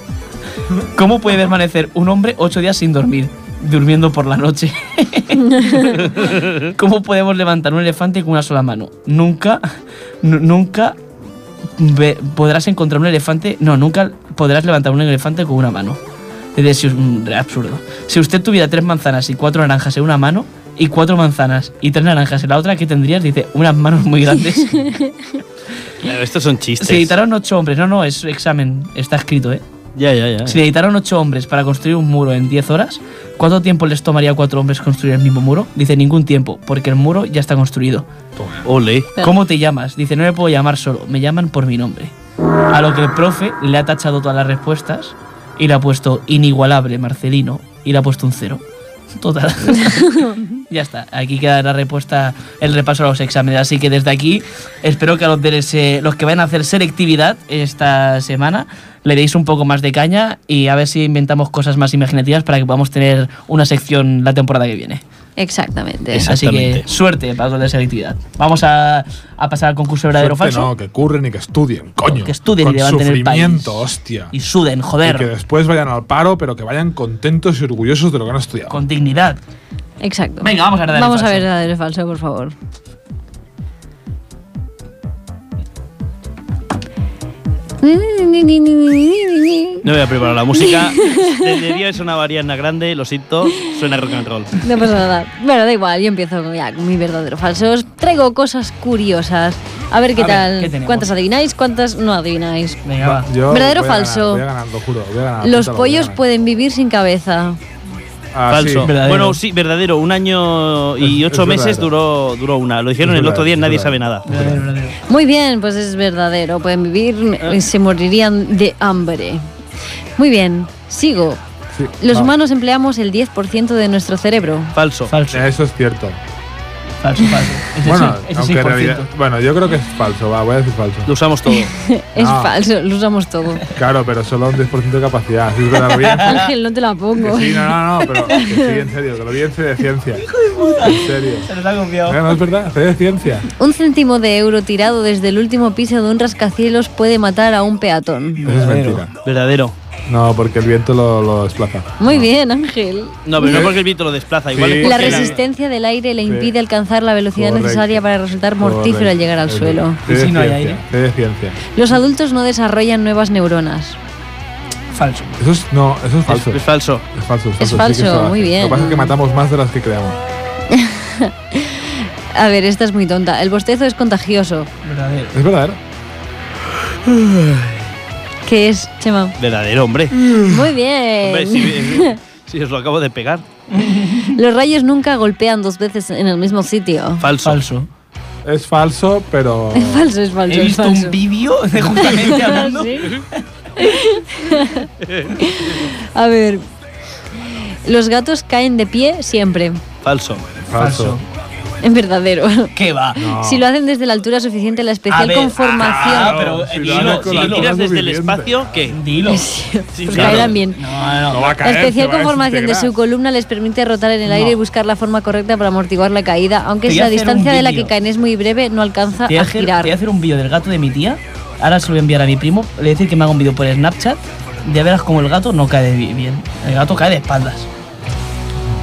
Speaker 4: ¿Cómo puede permanecer un hombre ocho días sin dormir? Durmiendo por la noche. ¿Cómo podemos levantar un elefante con una sola mano? Nunca, nu- nunca ve- podrás encontrar un elefante. No, nunca podrás levantar un elefante con una mano. Es decir, es absurdo. Si usted tuviera tres manzanas y cuatro naranjas en una mano, y cuatro manzanas y tres naranjas en la otra, ¿qué tendrías? Dice, unas manos muy grandes.
Speaker 5: Claro, estos son chistes.
Speaker 4: Se necesitaron ocho hombres. No, no, es examen. Está escrito, ¿eh?
Speaker 5: Ya, ya,
Speaker 6: Ah.
Speaker 5: ya.
Speaker 4: Si necesitaron ocho hombres para construir un muro en 10 horas, ¿cuánto tiempo les tomaría a cuatro hombres construir el mismo muro? Dice, ningún tiempo, porque el muro ya está construido.
Speaker 5: Ole.
Speaker 2: Claro.
Speaker 4: ¿Cómo te llamas? Dice, no me puedo llamar solo, me llaman por mi nombre. A lo que el profe le ha tachado todas las respuestas y le ha puesto inigualable Marcelino y le ha puesto un cero. Total. ya está, aquí queda la respuesta, el repaso a los exámenes. Así que desde aquí espero que a los, de les- eh, los que vayan a hacer selectividad esta semana le deis un poco más de caña y a ver si inventamos cosas más imaginativas para que podamos tener una sección la temporada que viene.
Speaker 2: Exactamente.
Speaker 5: Esa-
Speaker 4: Así que
Speaker 5: Exactamente.
Speaker 4: suerte para los de selectividad. Vamos a, a pasar al concurso verdadero o
Speaker 3: Suerte
Speaker 4: falso.
Speaker 3: No, que curren y que estudien, coño.
Speaker 4: Que estudien y
Speaker 3: con
Speaker 4: levanten el país.
Speaker 3: sufrimiento, hostia.
Speaker 4: Y suden,
Speaker 3: Y que
Speaker 4: joder,
Speaker 3: después vayan al paro, pero que vayan contentos y orgullosos de lo que han estudiado.
Speaker 4: con dignidad.
Speaker 2: Exacto.
Speaker 4: Venga, vamos a verdadero
Speaker 2: Vamos
Speaker 4: falso.
Speaker 2: a verdadero falso, por favor.
Speaker 5: No voy a preparar la música. Desde día sonaba Ariana Grande, lo siento, suena rock and roll.
Speaker 2: No pasa nada. Bueno, da igual, yo empiezo con- ya con mi verdadero falso. Os traigo cosas curiosas. A ver qué
Speaker 4: A ver,
Speaker 2: tal.
Speaker 4: ¿qué tenemos?
Speaker 2: cuántas adivináis, cuántas no adivináis.
Speaker 4: Venga, va.
Speaker 3: Yo
Speaker 2: ¿Verdadero o
Speaker 3: voy a ganar,
Speaker 2: falso?
Speaker 3: voy a ganar, lo juro. voy a ganar,
Speaker 2: Los
Speaker 3: Ah, apúntalo,
Speaker 2: pollos
Speaker 3: voy
Speaker 2: pueden vivir sin cabeza.
Speaker 3: a ganar. Ah,
Speaker 5: Falso.
Speaker 3: sí.
Speaker 4: Verdadero.
Speaker 5: Bueno, sí, verdadero. Un año y
Speaker 3: Es-
Speaker 5: ocho
Speaker 3: es
Speaker 5: meses
Speaker 3: verdadero.
Speaker 5: duró, duró una. Lo dijeron
Speaker 3: Es
Speaker 5: el otro
Speaker 3: verdadero,
Speaker 5: día y
Speaker 3: es
Speaker 5: nadie sabe
Speaker 3: verdadero.
Speaker 5: nada.
Speaker 4: Verdadero, verdadero.
Speaker 3: Eh.
Speaker 2: eh, Muy bien, pues es verdadero. Pueden vivir, se morirían de hambre. Muy bien, sigo.
Speaker 3: Sí,
Speaker 2: Los
Speaker 3: va.
Speaker 2: humanos empleamos el 10% de nuestro cerebro.
Speaker 5: Falso.
Speaker 4: Falso,
Speaker 3: Eso es cierto.
Speaker 4: falso, falso. Ese
Speaker 3: Eh. Bueno,
Speaker 4: sí, ese
Speaker 3: aunque en
Speaker 4: 6%.
Speaker 3: realidad- bueno, yo creo que es falso, va, voy a decir falso.
Speaker 5: Lo usamos todo.
Speaker 2: Es
Speaker 3: Ah.
Speaker 2: falso, lo usamos todo.
Speaker 3: Claro, pero solo un 10% de capacidad. Sí, es verdad, lo vi en-
Speaker 2: Ángel, no te la
Speaker 3: que
Speaker 2: pongo.
Speaker 3: sí, no, no, no, pero que sí, en serio, que lo vi en C de ciencia. En serio.
Speaker 4: Se nos ha confiado.
Speaker 3: No, no, es verdad, C de ciencia.
Speaker 2: Un céntimo de euro tirado desde el último piso de un rascacielos puede matar a un peatón.
Speaker 3: Eso es mentira.
Speaker 5: Verdadero.
Speaker 3: No, porque el viento lo, lo desplaza.
Speaker 2: Muy bien, Ángel.
Speaker 5: No, pero no porque el viento lo desplaza. Igual
Speaker 3: Ah. Sí.
Speaker 5: es
Speaker 2: La
Speaker 5: porque
Speaker 2: resistencia del aire le
Speaker 3: Sí.
Speaker 2: impide alcanzar la velocidad
Speaker 3: Correcto.
Speaker 2: necesaria para resultar mortífero
Speaker 3: Correcto.
Speaker 2: al llegar al
Speaker 3: Es
Speaker 2: suelo.
Speaker 3: verdad. C de
Speaker 4: ¿Y si no hay
Speaker 3: ciencia,
Speaker 4: aire?
Speaker 3: C de ciencia.
Speaker 2: Los adultos no desarrollan nuevas neuronas.
Speaker 4: Falso.
Speaker 3: Eso es, no, eso es
Speaker 5: Es,
Speaker 3: falso.
Speaker 5: es falso.
Speaker 3: Es falso,
Speaker 2: Es
Speaker 3: sí que
Speaker 2: falso,
Speaker 3: eso hace.
Speaker 2: muy bien.
Speaker 3: Lo que pasa es que matamos más de las que creamos.
Speaker 2: A ver, esta es muy tonta. El bostezo es contagioso.
Speaker 4: Verdadero.
Speaker 3: Es ¿eh? verdadero.
Speaker 2: ¿Qué es, Chema?
Speaker 5: Verdadero, hombre.
Speaker 4: Mm.
Speaker 2: Muy
Speaker 5: Hombre,
Speaker 2: bien.
Speaker 5: si, si os lo acabo de pegar.
Speaker 2: Los rayos nunca golpean dos veces en el mismo sitio.
Speaker 5: Falso.
Speaker 4: Falso.
Speaker 3: Es falso, pero.
Speaker 2: Es falso, es falso.
Speaker 4: He
Speaker 2: es
Speaker 4: visto
Speaker 2: falso. Ah,
Speaker 4: un vídeo de justamente hablando.
Speaker 2: Sí. A ver. Los gatos caen de pie siempre.
Speaker 5: Falso.
Speaker 3: falso.
Speaker 2: En verdadero.
Speaker 4: ¿Qué va?
Speaker 3: No.
Speaker 2: Si lo hacen desde la altura suficiente, la
Speaker 4: A
Speaker 2: especial
Speaker 4: ver, ah,
Speaker 2: conformación.
Speaker 4: pero
Speaker 3: Si
Speaker 4: eh,
Speaker 3: lo
Speaker 5: Si
Speaker 4: dilo,
Speaker 3: haces con
Speaker 5: lo- si
Speaker 4: dilo,
Speaker 3: la
Speaker 5: lo
Speaker 3: altura
Speaker 5: tiras desde el
Speaker 3: suficiente.
Speaker 5: espacio, ¿qué?
Speaker 4: dilo.
Speaker 5: Sí,
Speaker 2: pues
Speaker 5: claro.
Speaker 2: caerán bien.
Speaker 4: No, no.
Speaker 3: No va a
Speaker 2: La
Speaker 3: caer. se
Speaker 2: especial
Speaker 3: va a
Speaker 2: conformación de su
Speaker 3: desintegrar.
Speaker 2: columna les permite rotar en el aire y buscar la forma correcta para amortiguar la caída, aunque
Speaker 4: Te
Speaker 2: si
Speaker 4: voy a
Speaker 2: la
Speaker 4: hacer un
Speaker 2: distancia de la que
Speaker 4: vídeo.
Speaker 2: caen es muy breve, no alcanza
Speaker 4: Te voy,
Speaker 2: a
Speaker 4: a hacer, te
Speaker 2: girar.
Speaker 4: voy a hacer un vídeo del gato de mi tía. Ahora se lo voy a enviar a mi primo. Le voy a decir que me haga un vídeo por Snapchat. De veras como el gato no cae de bi- bien. El gato cae de espaldas.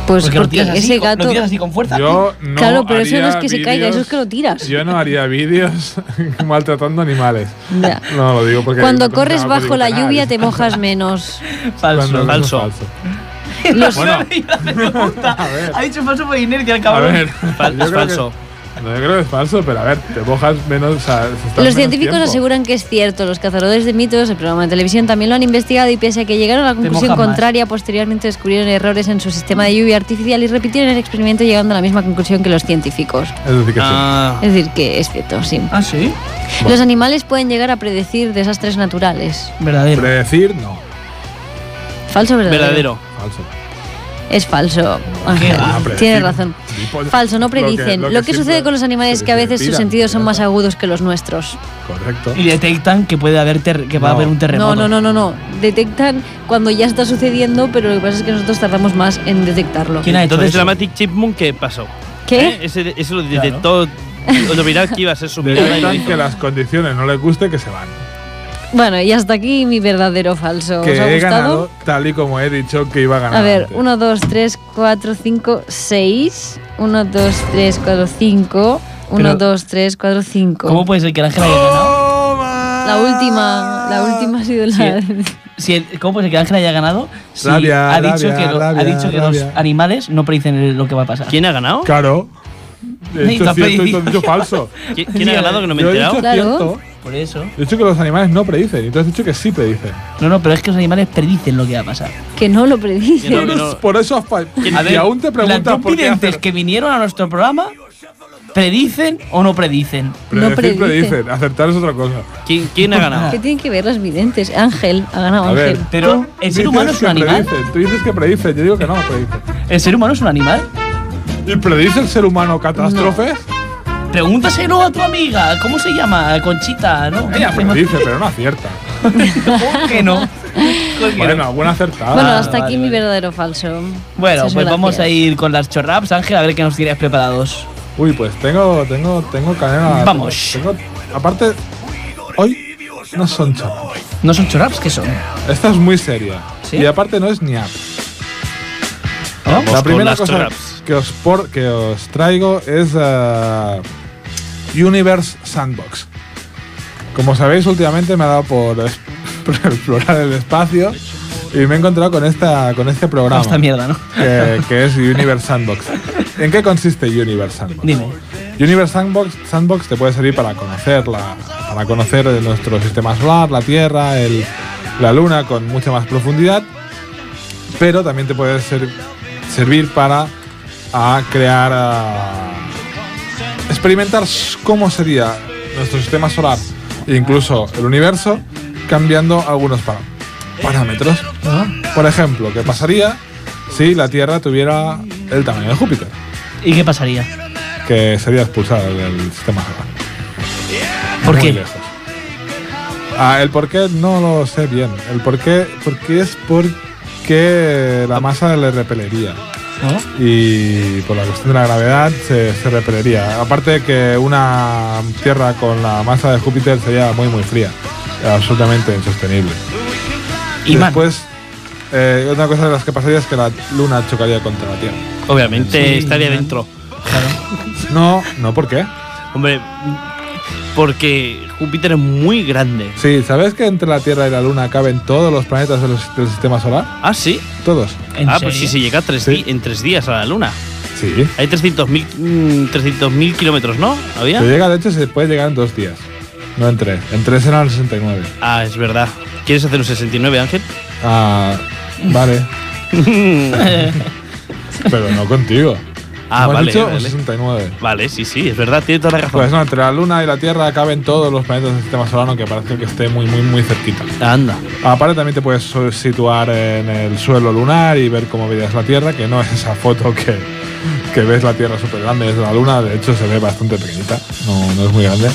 Speaker 2: Pues
Speaker 4: Porque
Speaker 2: porque,
Speaker 4: lo tiras, así,
Speaker 2: ese
Speaker 4: con-
Speaker 2: gato.
Speaker 4: lo tiras así con fuerza.
Speaker 3: Yo no
Speaker 2: claro, pero eso no es
Speaker 3: haría
Speaker 2: que se caiga, eso es
Speaker 3: vídeos-
Speaker 2: que lo tiras.
Speaker 3: Yo no haría vídeos maltratando animales.
Speaker 2: Ya.
Speaker 3: No, lo digo porque.
Speaker 2: Cuando
Speaker 3: no
Speaker 2: corres
Speaker 3: pensaba que
Speaker 2: bajo la
Speaker 3: digo,
Speaker 2: lluvia
Speaker 3: "Ah,
Speaker 2: te mojas menos.
Speaker 4: Falso.
Speaker 3: cuando-
Speaker 5: Falso.
Speaker 2: Los-
Speaker 3: Bueno.
Speaker 4: La pregunta.
Speaker 3: A ver.
Speaker 4: Ha dicho falso por inercia el
Speaker 3: A
Speaker 4: cabrón.
Speaker 3: ver,
Speaker 5: Fal-
Speaker 3: yo creo
Speaker 5: es falso.
Speaker 3: que- no, yo creo que es falso, pero a ver, te mojas menos. o sea, estás
Speaker 2: Los
Speaker 3: menos
Speaker 2: científicos
Speaker 3: tiempo.
Speaker 2: aseguran que es cierto. Los cazadores de mitos, el programa de televisión, también lo han investigado y pese a que llegaron a la conclusión
Speaker 4: mojan más.
Speaker 2: contraria, posteriormente descubrieron errores en su sistema de lluvia artificial y repitieron el experimento llegando a la misma conclusión que los científicos.
Speaker 3: Es decir, que sí.
Speaker 5: Ah,
Speaker 2: Es decir, que es cierto, sí.
Speaker 4: Ah, sí.
Speaker 2: Los animales pueden llegar a predecir desastres naturales.
Speaker 4: Verdadero.
Speaker 3: Predecir, no.
Speaker 2: Falso o verdadero.
Speaker 5: verdadero.
Speaker 3: Falso.
Speaker 2: Es falso. Ángel.
Speaker 4: va,
Speaker 3: predecir.
Speaker 2: Tienes razón.
Speaker 3: Tipo-
Speaker 2: Falso, no
Speaker 3: lo que- lo
Speaker 2: predicen. Lo que,
Speaker 3: siempre
Speaker 2: sucede con los animales
Speaker 3: se
Speaker 2: es que a veces sus
Speaker 3: tiran,
Speaker 2: sentidos son
Speaker 3: ¿verdad?
Speaker 2: más agudos que los nuestros.
Speaker 3: Correcto.
Speaker 4: Y detectan que puede haber ter- que va a
Speaker 3: No.
Speaker 4: haber un terremoto.
Speaker 2: No, no, no, no, no. Detectan cuando ya está sucediendo, pero lo que pasa es que nosotros tardamos más en detectarlo.
Speaker 4: ¿Quién ha hecho
Speaker 5: Entonces,
Speaker 4: eso?
Speaker 5: Dramatic Chipmunk, ¿qué pasó? ¿Eh?
Speaker 2: ¿Qué?
Speaker 5: Ese, ese lo detectó. Lo mirad que iba a ser su mirada y lo
Speaker 3: Detectan que
Speaker 5: hizo.
Speaker 3: las condiciones no les guste que se van.
Speaker 2: Bueno, y hasta aquí mi verdadero falso.
Speaker 3: Que
Speaker 2: ¿Os ha
Speaker 3: he
Speaker 2: gustado?
Speaker 3: ganado tal y como he dicho que iba a ganar.
Speaker 2: A ver,
Speaker 3: antes.
Speaker 2: 1, 2, 3, 4, 5, 6. 1, 2, 3, 4, 5. 1,
Speaker 4: Pero-
Speaker 2: 2, 3, 4, 5.
Speaker 4: ¿Cómo puede ser que el ángel haya
Speaker 3: ¡Oh!
Speaker 4: ganado?
Speaker 2: La última,
Speaker 3: Ah,
Speaker 2: la última ha sido la.
Speaker 4: Si el- ¿Cómo puede ser que el ángel haya ganado? Si
Speaker 3: Rabia,
Speaker 4: ha dicho
Speaker 3: rabia,
Speaker 4: que, lo-
Speaker 3: rabia,
Speaker 4: ha dicho que los
Speaker 3: rabia.
Speaker 4: animales no predicen el- lo que va a pasar.
Speaker 5: ¿Quién ha ganado?
Speaker 3: Claro. He
Speaker 4: Ni
Speaker 3: dicho
Speaker 4: te
Speaker 3: cierto y tú
Speaker 4: apellido.
Speaker 3: has dicho falso.
Speaker 5: ¿Qui- ¿Quién ha ganado que no me he
Speaker 3: Yo he
Speaker 5: enterado?
Speaker 3: dicho
Speaker 2: Claro.
Speaker 3: cierto.
Speaker 4: Por eso.
Speaker 3: He dicho que los animales no predicen y tú has dicho que sí predicen.
Speaker 4: No, no, pero es que los animales predicen lo que va a pasar.
Speaker 2: Que no lo predice.
Speaker 5: Que no, que no.
Speaker 3: Por eso has fallado.
Speaker 5: A
Speaker 3: Y
Speaker 5: ver,
Speaker 3: aún te
Speaker 4: Las
Speaker 3: preguntas
Speaker 4: dos
Speaker 3: por qué
Speaker 4: videntes
Speaker 3: hacer-
Speaker 4: que vinieron a nuestro programa, ¿predicen o no predicen?
Speaker 2: no
Speaker 3: predecir,
Speaker 2: predice.
Speaker 3: predicen. Acertar es otra cosa.
Speaker 5: ¿Quién, quién ha ganado?
Speaker 2: ¿Qué tienen que ver las videntes? Ángel, ha ganado
Speaker 3: A ver,
Speaker 2: Ángel.
Speaker 4: Pero,
Speaker 3: tú
Speaker 4: ¿el
Speaker 3: dices
Speaker 4: ser humano es
Speaker 3: que
Speaker 4: un animal?
Speaker 3: predicen, Tú dices que predicen, yo digo que no, predicen.
Speaker 4: ¿El ser humano es un animal?
Speaker 3: ¿Y predice el ser humano catástrofes?
Speaker 4: Pregúntaselo a tu amiga, ¿cómo se llama? Conchita, ¿no?
Speaker 3: Ella predice, pero no acierta.
Speaker 4: ¿Cómo que no? ¿Cómo que
Speaker 3: Bueno,
Speaker 4: no?
Speaker 3: alguna acertada.
Speaker 2: Bueno,
Speaker 4: Ah,
Speaker 2: hasta
Speaker 4: vale,
Speaker 2: aquí mi
Speaker 4: vale.
Speaker 2: verdadero falso.
Speaker 4: Bueno,
Speaker 2: Muchas
Speaker 4: pues vamos
Speaker 2: gracias.
Speaker 4: a ir con las chorraps, Ángel, a ver qué nos tienes preparados.
Speaker 3: Uy, pues tengo, tengo, tengo canela.
Speaker 4: Vamos.
Speaker 3: Tengo, aparte, hoy no son chapas.
Speaker 4: ¿No son chorraps? ¿Qué son?
Speaker 3: Esta es muy seria.
Speaker 4: ¿Sí?
Speaker 3: Y aparte no es ni app.
Speaker 4: ¿No?
Speaker 5: Vamos
Speaker 3: La
Speaker 5: con
Speaker 3: primera
Speaker 5: las
Speaker 3: cosa
Speaker 5: chorraps.
Speaker 3: que os, por- que os traigo es eh, Universe Sandbox. Como sabéis, últimamente me ha dado por, es- por explorar el espacio y me he encontrado con, esta, con este programa.
Speaker 4: Esta mierda, ¿no?
Speaker 3: que, que es Universe Sandbox. ¿En qué consiste Universe Sandbox?
Speaker 4: Dime.
Speaker 3: Universe Sandbox, Sandbox te puede servir para conocer la, para conocer nuestro sistema solar, la Tierra, el- la Luna con mucha más profundidad, pero también te puede ser- servir para a crear ah, experimentar s- cómo sería nuestro sistema solar e incluso el universo cambiando algunos para- parámetros. Por ejemplo, ¿qué pasaría si la Tierra tuviera el tamaño de Júpiter?
Speaker 4: ¿Y qué pasaría?
Speaker 3: Que sería expulsada del sistema solar.
Speaker 4: ¿Por
Speaker 3: Muy
Speaker 4: qué?
Speaker 3: lejos. Ah, el por qué no lo sé bien. El por qué, porque es porque la masa le repelería.
Speaker 4: ¿No?
Speaker 3: Y por la cuestión de la gravedad se, se repelería. Aparte que una Tierra con la masa de Júpiter sería muy muy fría. Absolutamente insostenible.
Speaker 4: Y man,
Speaker 3: Después, eh, otra cosa de las que pasaría es que la Luna chocaría contra la Tierra.
Speaker 5: Obviamente
Speaker 4: Sí,
Speaker 5: estaría
Speaker 4: normal.
Speaker 5: dentro.
Speaker 4: claro.
Speaker 3: No, no, ¿por qué?
Speaker 5: Hombre, porque Júpiter es muy grande.
Speaker 3: Sí, ¿sabes que entre la Tierra y la Luna caben todos los planetas del, del sistema solar?
Speaker 5: Ah, sí.
Speaker 3: Todos.
Speaker 4: ¿En
Speaker 5: ah, pues
Speaker 4: serio?
Speaker 5: si se llega a tres
Speaker 3: Sí.
Speaker 5: di- en tres días a la Luna.
Speaker 3: Sí.
Speaker 5: Hay 300.000 mm, 300.000 kilómetros, ¿no? ¿Había?
Speaker 3: Se llega, de hecho, se puede llegar en dos días. No en tres. En tres eran 69.
Speaker 5: Ah, es verdad. ¿Quieres hacer un 69, Ángel?
Speaker 3: Ah, vale. Pero no contigo.
Speaker 5: Ah,
Speaker 3: Hemos
Speaker 5: vale,
Speaker 3: dicho Pues
Speaker 5: vale.
Speaker 3: 69.
Speaker 5: Vale, sí, sí, es verdad, tiene toda la razón.
Speaker 3: Pues no, entre la Luna y la Tierra caben todos los planetas del sistema solar, aunque parece que esté muy, muy, muy cerquita.
Speaker 5: Anda.
Speaker 3: Aparte, también te puedes so- situar en el suelo lunar y ver cómo veías la Tierra, que no es esa foto que, que ves la Tierra súper grande desde la Luna. De hecho, se ve bastante pequeñita, no, no es muy grande.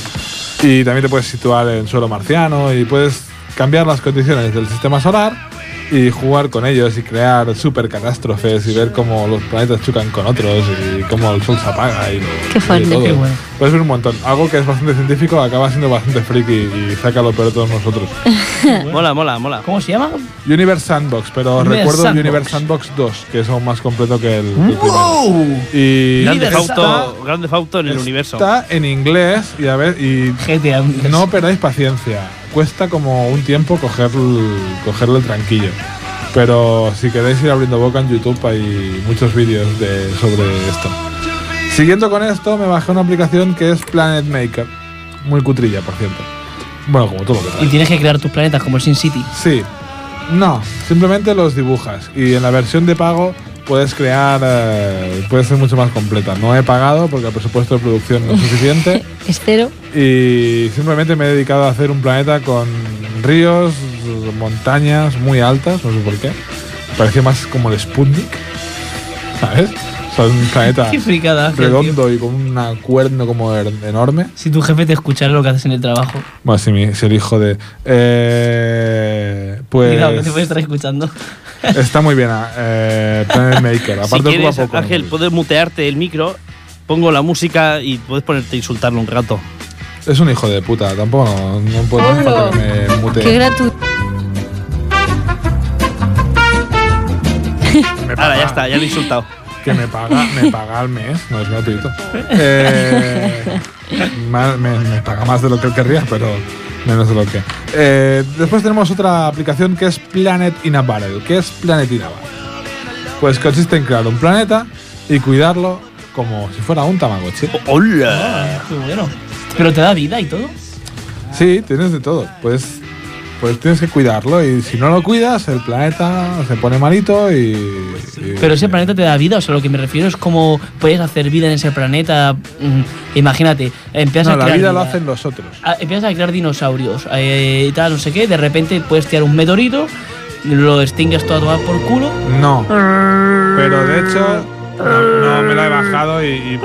Speaker 3: Y también te puedes situar en suelo marciano y puedes cambiar las condiciones del sistema solar y jugar con ellos y crear super catástrofes y ver cómo los planetas chocan con otros y cómo el sol se apaga y lo-
Speaker 2: Qué
Speaker 3: y
Speaker 2: fuerte.
Speaker 3: todo.
Speaker 4: Qué bueno.
Speaker 3: Puedes ver un montón. Algo que es bastante científico acaba siendo bastante friki y saca lo peor de todos nosotros.
Speaker 5: Mola, mola, mola.
Speaker 4: ¿Cómo se llama?
Speaker 3: Universe Sandbox, pero
Speaker 4: Universe
Speaker 3: recuerdo
Speaker 4: Sandbox.
Speaker 3: Universe Sandbox 2, que es aún más completo que el, que el primero.
Speaker 4: ¡Wow!
Speaker 3: Y
Speaker 5: Grande
Speaker 4: Universal.
Speaker 5: Fauto, grande Fauto en el universo.
Speaker 3: Está en inglés y a ver y
Speaker 4: GTA. Universe.
Speaker 3: no perdáis paciencia. Cuesta como un tiempo cogerlo, cogerlo tranquillo. Pero si queréis ir abriendo boca en YouTube hay muchos vídeos de, sobre esto. Siguiendo con esto, me bajé una aplicación que es Planet Maker. Muy cutrilla, por cierto. Bueno, como todo lo que trae.
Speaker 4: Y tienes que crear tus planetas como el Sin City.
Speaker 3: Sí. No, simplemente los dibujas. Y en la versión de pago puedes crear. eh, puede ser mucho más completa. No he pagado porque el presupuesto de producción no es suficiente.
Speaker 2: Es cero.
Speaker 3: y simplemente me he dedicado a hacer un planeta con ríos, montañas muy altas, no sé por qué. Parecía más como el Sputnik. ¿Sabes? O sea, un planeta
Speaker 4: Qué fricada. Ángel, tío.
Speaker 3: redondo y con un cuerno como er- enorme.
Speaker 4: Si tu jefe te escuchara lo que haces en el trabajo.
Speaker 3: Bueno, si, mi- si el hijo de. Eh, pues.
Speaker 4: Cuidado, que te puede estar escuchando.
Speaker 3: Está muy bien eh, Planet Maker. Aparte
Speaker 5: si
Speaker 3: ocupa
Speaker 5: quieres,
Speaker 3: poco.
Speaker 5: Ángel, puedes mutearte el micro, pongo la música y puedes ponerte a insultarlo un rato.
Speaker 3: Es un hijo de puta, tampoco no, no puedo no hace falta que me mute.
Speaker 2: Qué gratuito.
Speaker 3: me paga,
Speaker 5: Ahora, ya está, ya lo he insultado.
Speaker 3: Que me paga, me paga al mes, no es gratuito. Eh, más- me, me paga más de lo que él querría, pero menos de lo que. Eh, después tenemos otra aplicación que es Planet in a Barrel. ¿Qué es Planet in a Barrel? Pues consiste en crear un planeta y cuidarlo como si fuera un Tamagotchi.
Speaker 5: ¡Hola!
Speaker 4: Ah, qué bueno. Pero te da vida y todo.
Speaker 3: Sí, tienes de todo. Pues, pues tienes que cuidarlo y si no lo cuidas, el planeta se pone malito y... y-
Speaker 4: Pero ese planeta te da vida, o sea, lo que me refiero es cómo puedes hacer vida en ese planeta. Mm, Imagínate, empiezas
Speaker 3: No,
Speaker 4: a
Speaker 3: la
Speaker 4: crear.
Speaker 3: vida lo hacen los otros.
Speaker 4: Ah, Empiezas a crear dinosaurios eh, y tal, no sé qué. De repente puedes tirar un meteorito, lo extingues todo a tomar por culo.
Speaker 3: No. Pero de hecho, no, no me la he bajado y, y-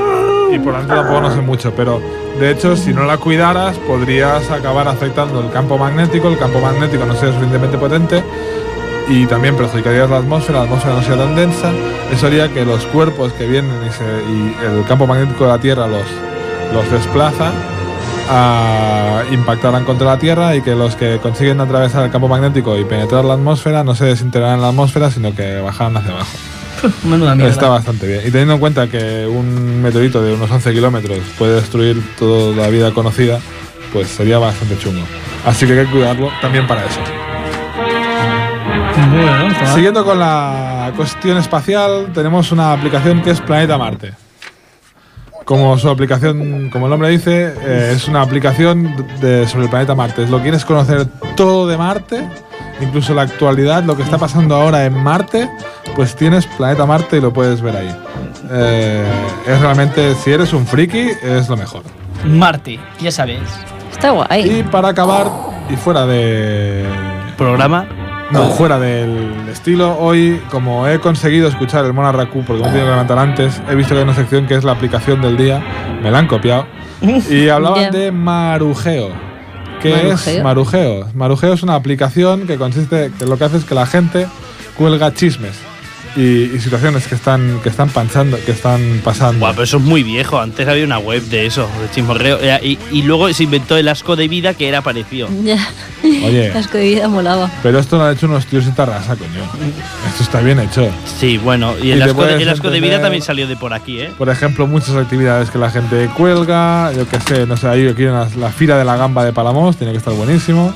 Speaker 3: y por lo tanto tampoco no sé mucho. Pero de hecho, si no la cuidaras, podrías acabar afectando el campo magnético. El campo magnético no sería suficientemente potente y también perjudicarías la atmósfera. La atmósfera no sería tan densa. Eso haría que los cuerpos que vienen y, se- y el campo magnético de la Tierra los, los desplaza. ah, impactarán contra la Tierra y que los que consiguen atravesar el campo magnético y penetrar la atmósfera no se desintegrarán en la atmósfera, sino que bajarán hacia abajo.
Speaker 4: Menuda mierda.
Speaker 3: Está bastante bien. Y teniendo en cuenta que un meteorito de unos 11 kilómetros puede destruir toda la vida conocida, pues sería bastante chungo. Así que hay que cuidarlo también para eso.
Speaker 4: Bueno, está-
Speaker 3: Siguiendo con la cuestión espacial, tenemos una aplicación que es Planeta Marte. Como su aplicación, como el nombre dice, eh, es una aplicación de- sobre el planeta Marte. Lo quieres conocer todo de Marte, incluso la actualidad, lo que está pasando ahora en Marte, pues tienes Planeta Marte y lo puedes ver ahí. Eh, es realmente, si eres un friki, es lo mejor.
Speaker 4: Marte, ya sabes.
Speaker 2: Está guay.
Speaker 3: Y para acabar, y fuera de,
Speaker 5: Programa
Speaker 3: No, Pues fuera del estilo. Hoy, como he conseguido escuchar el Mona Raku porque me he tenido que levantar antes, he visto que hay una sección que es la aplicación del día. Me la han copiado. Y hablaban
Speaker 2: Ya.
Speaker 3: de Marujeo. ¿Qué es
Speaker 2: ¿Marujeo?
Speaker 3: Marujeo? Marujeo es una aplicación que consiste, que lo que hace es que la gente cuelga chismes y, y situaciones que están, que están panchando, que están pasando.
Speaker 5: Guau, pero eso es muy viejo. Antes había una web de eso, de chismorreo. Era- Y, y luego se inventó el asco de vida que era parecido.
Speaker 2: Ya.
Speaker 3: Oye.
Speaker 2: Asco de vida molaba.
Speaker 3: Pero esto lo han hecho unos tíos en Tarrasa, coño.
Speaker 2: Mm.
Speaker 3: Esto está bien hecho.
Speaker 5: Sí, bueno, y
Speaker 3: Y
Speaker 5: el,
Speaker 3: te
Speaker 5: asco, de,
Speaker 3: puedes
Speaker 5: el asco de vida
Speaker 3: entender-
Speaker 5: también salió de por aquí, ¿eh?
Speaker 3: Por ejemplo, muchas actividades que la gente cuelga, yo qué sé, no sé, hay aquí una- la fila de la gamba de Palamos, tiene que estar buenísimo.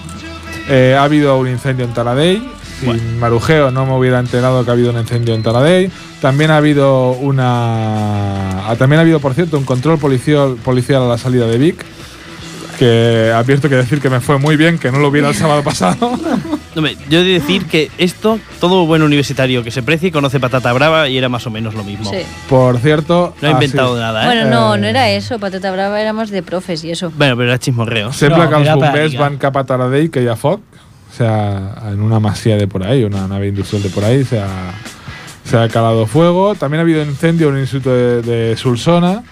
Speaker 3: Eh, ha habido un incendio en Taradey, sin marujeo no me hubiera enterado que ha habido un incendio en Taradey. También ha habido una... ah, También ha habido, por cierto, un control policial, policial a la salida de Vic, que advierto que decir que me fue muy bien, que no lo hubiera el sábado pasado.
Speaker 5: No, me- yo he de decir que esto, todo buen universitario que se precie conoce patata brava y era más o menos lo mismo.
Speaker 2: Sí.
Speaker 3: por cierto...
Speaker 5: No ha
Speaker 3: así-
Speaker 5: inventado nada, ¿eh?
Speaker 2: Bueno, no, no
Speaker 3: Eh.
Speaker 2: era eso. Patata brava éramos de profes y eso.
Speaker 5: Bueno, pero era chismorreo.
Speaker 3: Sembla
Speaker 4: No,
Speaker 3: que els
Speaker 4: era
Speaker 3: bombers
Speaker 4: pràctica.
Speaker 3: van cap a Taradell, que hi ha foc, o sea, en una masía de por ahí, una nave industrial de por ahí, se ha, se ha calado fuego. También ha habido un incendio en un instituto de, de Solsona.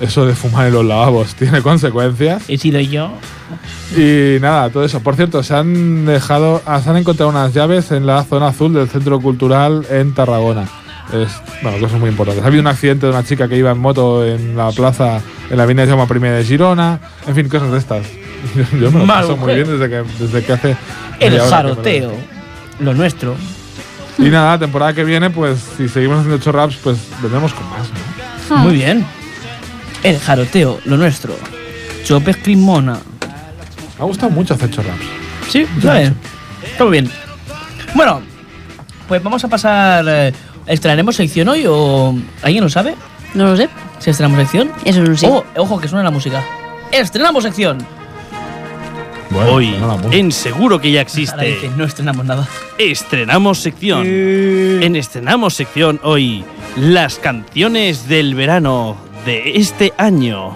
Speaker 3: Eso de fumar en los lavabos tiene consecuencias.
Speaker 4: He sido yo.
Speaker 3: Y nada, todo eso. Por cierto, se han dejado, ah, se han encontrado unas llaves en la zona azul del centro cultural en Tarragona. Es, bueno, cosas muy importantes. Ha habido un accidente de una chica que iba en moto en la plaza, en la avenida Jaume I de Girona. En fin, cosas de estas. Yo, yo me lo
Speaker 4: Mal
Speaker 3: paso muy
Speaker 4: mujer.
Speaker 3: bien desde que, desde que hace.
Speaker 4: El
Speaker 3: media hora que me lo
Speaker 4: jaroteo. Lo nuestro.
Speaker 3: dejo. Y nada, temporada que viene, pues si seguimos haciendo ocho raps, pues vendremos con más. ¿no?
Speaker 4: Muy bien. El jaroteo, lo nuestro. Chopes Crimona.
Speaker 3: Me ha gustado mucho hacer ocho raps.
Speaker 4: Sí, está bien. Está muy bien. Bueno, pues vamos a pasar. eh, ¿Estrenaremos sección hoy o alguien lo sabe?
Speaker 2: No lo sé.
Speaker 4: ¿Si estrenamos sección?
Speaker 2: Eso no sé.
Speaker 4: Oh, ojo, que suena la música. ¡Estrenamos sección!
Speaker 5: Hoy,
Speaker 3: bueno, la música.
Speaker 5: en Seguro que ya
Speaker 4: Ahora dice,
Speaker 5: existe,
Speaker 4: no estrenamos nada.
Speaker 5: estrenamos sección. En estrenamos sección hoy, las canciones del verano de este año.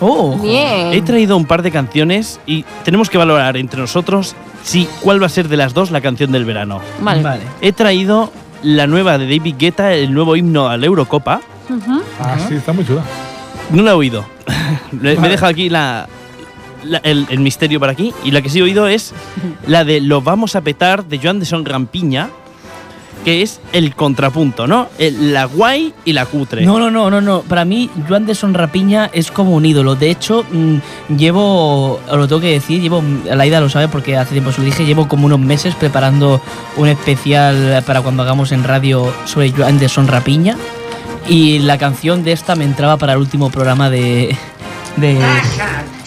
Speaker 4: Oh,
Speaker 2: Bien.
Speaker 5: He traído un par de canciones y tenemos que valorar entre nosotros si cuál va a ser de las dos la canción del verano.
Speaker 2: Vale.
Speaker 4: vale.
Speaker 5: He traído la nueva de David Guetta, el nuevo himno a la Eurocopa.
Speaker 2: Ujú.
Speaker 3: Ah, sí, está muy chula.
Speaker 5: No la he oído. Le- Me he dejado aquí la, la- el, el misterio para aquí. Y la que sí he oído es la de Lo vamos a petar de Joan de Son Rampiña, que es el contrapunto, ¿no? El- la guay y la cutre.
Speaker 4: No, no, no, no, no. Para mí, Joan de Sonrapiña es como un ídolo. De hecho, mm, llevo, os lo tengo que decir, llevo, Laida lo sabe porque hace tiempo se lo dije, llevo como unos meses preparando un especial para cuando hagamos en radio sobre Joan de Sonrapiña. Y la canción de esta me entraba para el último programa de. de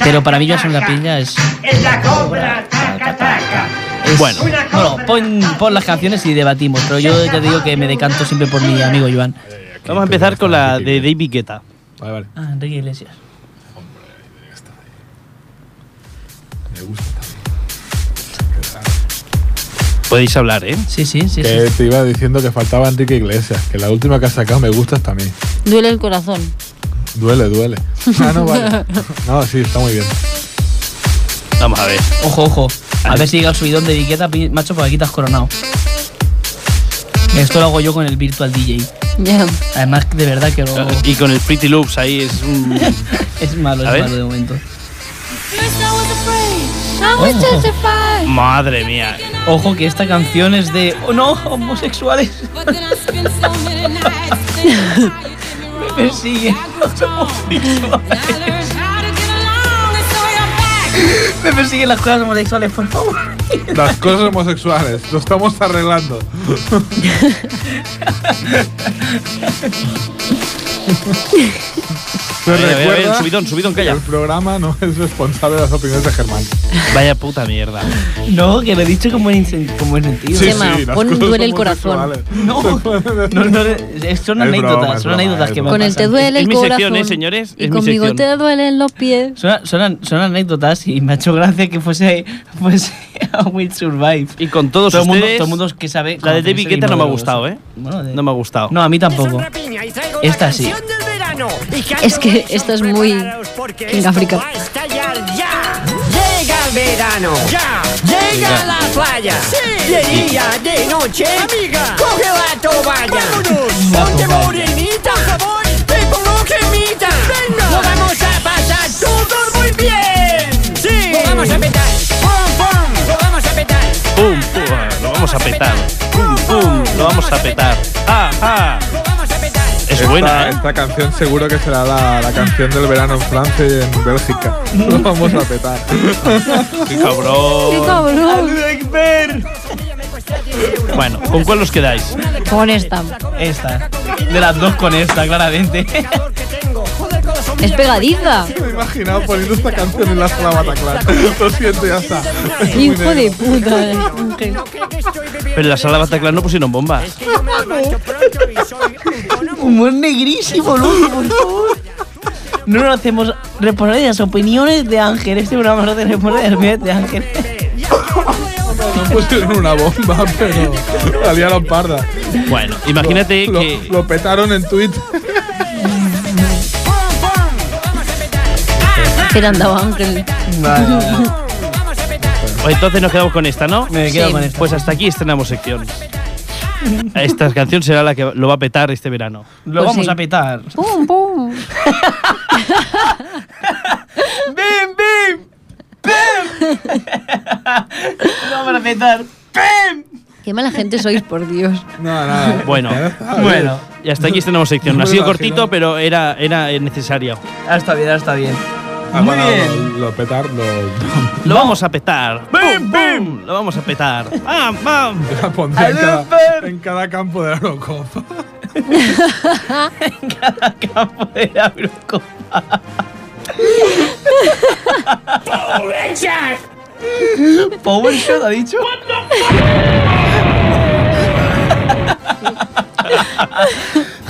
Speaker 4: pero para mí, Joan de Sonrapiña es.
Speaker 7: Es la cobra, taca, taca.
Speaker 4: es-
Speaker 5: Bueno.
Speaker 4: bueno, pon, pon las canciones y debatimos, pero yo ya te digo que me decanto siempre por mi amigo Joan.
Speaker 5: Vamos a empezar con la de David Guetta.
Speaker 3: Vale, vale.
Speaker 4: Ah, Enrique Iglesias.
Speaker 3: Me gusta.
Speaker 5: Podéis hablar, ¿eh?
Speaker 4: Sí, sí, sí. sí.
Speaker 3: Que te iba diciendo que faltaba Enrique Iglesias, que la última que has sacado me gusta hasta a mí.
Speaker 2: Duele el corazón.
Speaker 3: Duele, duele. Ah, no, vale. No, sí, está muy bien.
Speaker 5: Vamos a ver.
Speaker 4: Ojo, ojo. A ver si llega el subidón de etiqueta, pi- macho, porque aquí te has coronado. Esto lo hago yo con el Virtual DJ.
Speaker 2: Ya.
Speaker 4: Además, de verdad que lo...
Speaker 5: Y con el Pretty Loops ahí es un...
Speaker 4: es malo, es
Speaker 5: A ver.
Speaker 4: malo de momento.
Speaker 2: Vamos
Speaker 4: Ojo.
Speaker 5: Madre mía.
Speaker 4: Ojo que esta canción es de... ¡Oh no! ¡Homosexuales! Me persiguen los homosexuales. Me persiguen las cosas homosexuales, por favor.
Speaker 3: Las cosas homosexuales, lo estamos arreglando.
Speaker 5: A
Speaker 3: Se
Speaker 5: ver, a ver, a ver,
Speaker 3: recuerda,
Speaker 5: subidón, subidón, calla.
Speaker 3: el programa no es responsable de las opiniones de Germán.
Speaker 5: Vaya puta mierda.
Speaker 4: No, que lo he dicho como en, incen- como en sentido.
Speaker 2: Sí, Tema, pon duele el corazón.
Speaker 3: homosexuales.
Speaker 4: No, no, no, es- son
Speaker 3: Es broma,
Speaker 4: anécdotas,
Speaker 3: es
Speaker 4: son
Speaker 3: broma,
Speaker 4: anécdotas
Speaker 3: es
Speaker 4: que me
Speaker 3: broma.
Speaker 2: Con el te
Speaker 4: pasan.
Speaker 2: duele
Speaker 5: Es
Speaker 2: el
Speaker 5: mi
Speaker 2: corazón.
Speaker 5: sección, ¿eh, señores?
Speaker 2: Y
Speaker 5: Es mi
Speaker 2: conmigo
Speaker 5: sección.
Speaker 2: te duelen los pies.
Speaker 4: Son, son, son anécdotas y me ha hecho gracia que fuese, fuese a Will Survive.
Speaker 5: Y con todos
Speaker 4: todo el mundo,
Speaker 5: ustedes...
Speaker 4: todo el mundo que sabe.
Speaker 5: La de
Speaker 4: conoce
Speaker 5: David
Speaker 4: ese
Speaker 5: Guetta no me ha
Speaker 4: himno
Speaker 5: gustado, ¿eh?
Speaker 4: glorioso. Bueno, de-
Speaker 5: No me ha gustado.
Speaker 4: No, a mí tampoco. Esta sí.
Speaker 7: Es
Speaker 2: Es que esto es muy King África.
Speaker 7: Llega el
Speaker 8: el verano. Ya. Llega a la playa. Sí. De día, de noche. Amiga. Coge la toalla. Vámonos. Ponte
Speaker 4: toalla.
Speaker 8: morenita. Por favor. Te pongo cremita. Venga. Lo vamos a pasar todo muy bien. Sí. Lo vamos a petar. Pum, pum. Lo vamos a petar.
Speaker 5: Pum, pum, ah, lo vamos a petar. Pum, pum, lo vamos a petar. Ah, ah.
Speaker 8: Lo vamos a petar.
Speaker 5: Es
Speaker 3: Esta,
Speaker 5: buena, ¿eh?
Speaker 3: esta canción seguro que será la, la canción del verano en Francia y en Bélgica. Lo vamos a petar.
Speaker 5: Qué cabrón.
Speaker 2: ¡Qué cabrón!
Speaker 5: Bueno, ¿con cuál os quedáis?
Speaker 2: Con esta.
Speaker 4: Esta. De las dos con esta, claramente.
Speaker 2: Es pegadiza.
Speaker 3: Me he imaginado poniendo esta canción en la sala Bataclan. Lo siento, ya está. Es muy
Speaker 2: Hijo de
Speaker 3: negro.
Speaker 2: puta. eh.
Speaker 5: Pero en la sala Bataclan no pusieron bombas.
Speaker 4: Humor negrísimo, Luis, por favor. No nos hacemos responsable de las opiniones de Ángel. Este programa no hace responsable de las opiniones de Ángel.
Speaker 3: No pusieron una bomba, pero la liaron parda.
Speaker 5: Bueno, imagínate
Speaker 3: Lo,
Speaker 5: que.
Speaker 3: lo petaron en Twitter.
Speaker 2: ¿Qué le han dado, Ángel?
Speaker 5: Pues Entonces nos quedamos con esta, ¿no?
Speaker 4: Me quedo con esta.
Speaker 5: Pues hasta aquí estrenamos sección. Esta canción será la que lo va a petar este verano.
Speaker 4: Lo
Speaker 2: Pues
Speaker 4: vamos
Speaker 2: sí.
Speaker 4: a petar.
Speaker 2: ¡Pum, pum!
Speaker 4: ¡Bim, bim! ¡Pem! lo vamos a petar. ¡Pem!
Speaker 2: Qué mala gente sois, por Dios.
Speaker 3: No, nada.
Speaker 5: Bueno,
Speaker 3: Ya está, oye.
Speaker 4: Bueno,
Speaker 5: Y hasta aquí estrenamos sección.
Speaker 3: No
Speaker 5: Ha
Speaker 3: me
Speaker 5: sido
Speaker 3: lo imaginaba.
Speaker 5: cortito, pero era, era necesario.
Speaker 4: ahora está bien, ahora está bien.
Speaker 3: Ah,
Speaker 4: Muy
Speaker 3: bueno,
Speaker 4: bien.
Speaker 3: Lo, lo petar, lo.
Speaker 5: Lo vamos a petar. ¡Bim, bim! Lo vamos a petar. ¡Bam, bam!
Speaker 3: La pondré en cada,
Speaker 4: Alper.
Speaker 3: en cada campo de la Eurocopa.
Speaker 4: Cada campo de la Eurocopa. Power Shot ha dicho.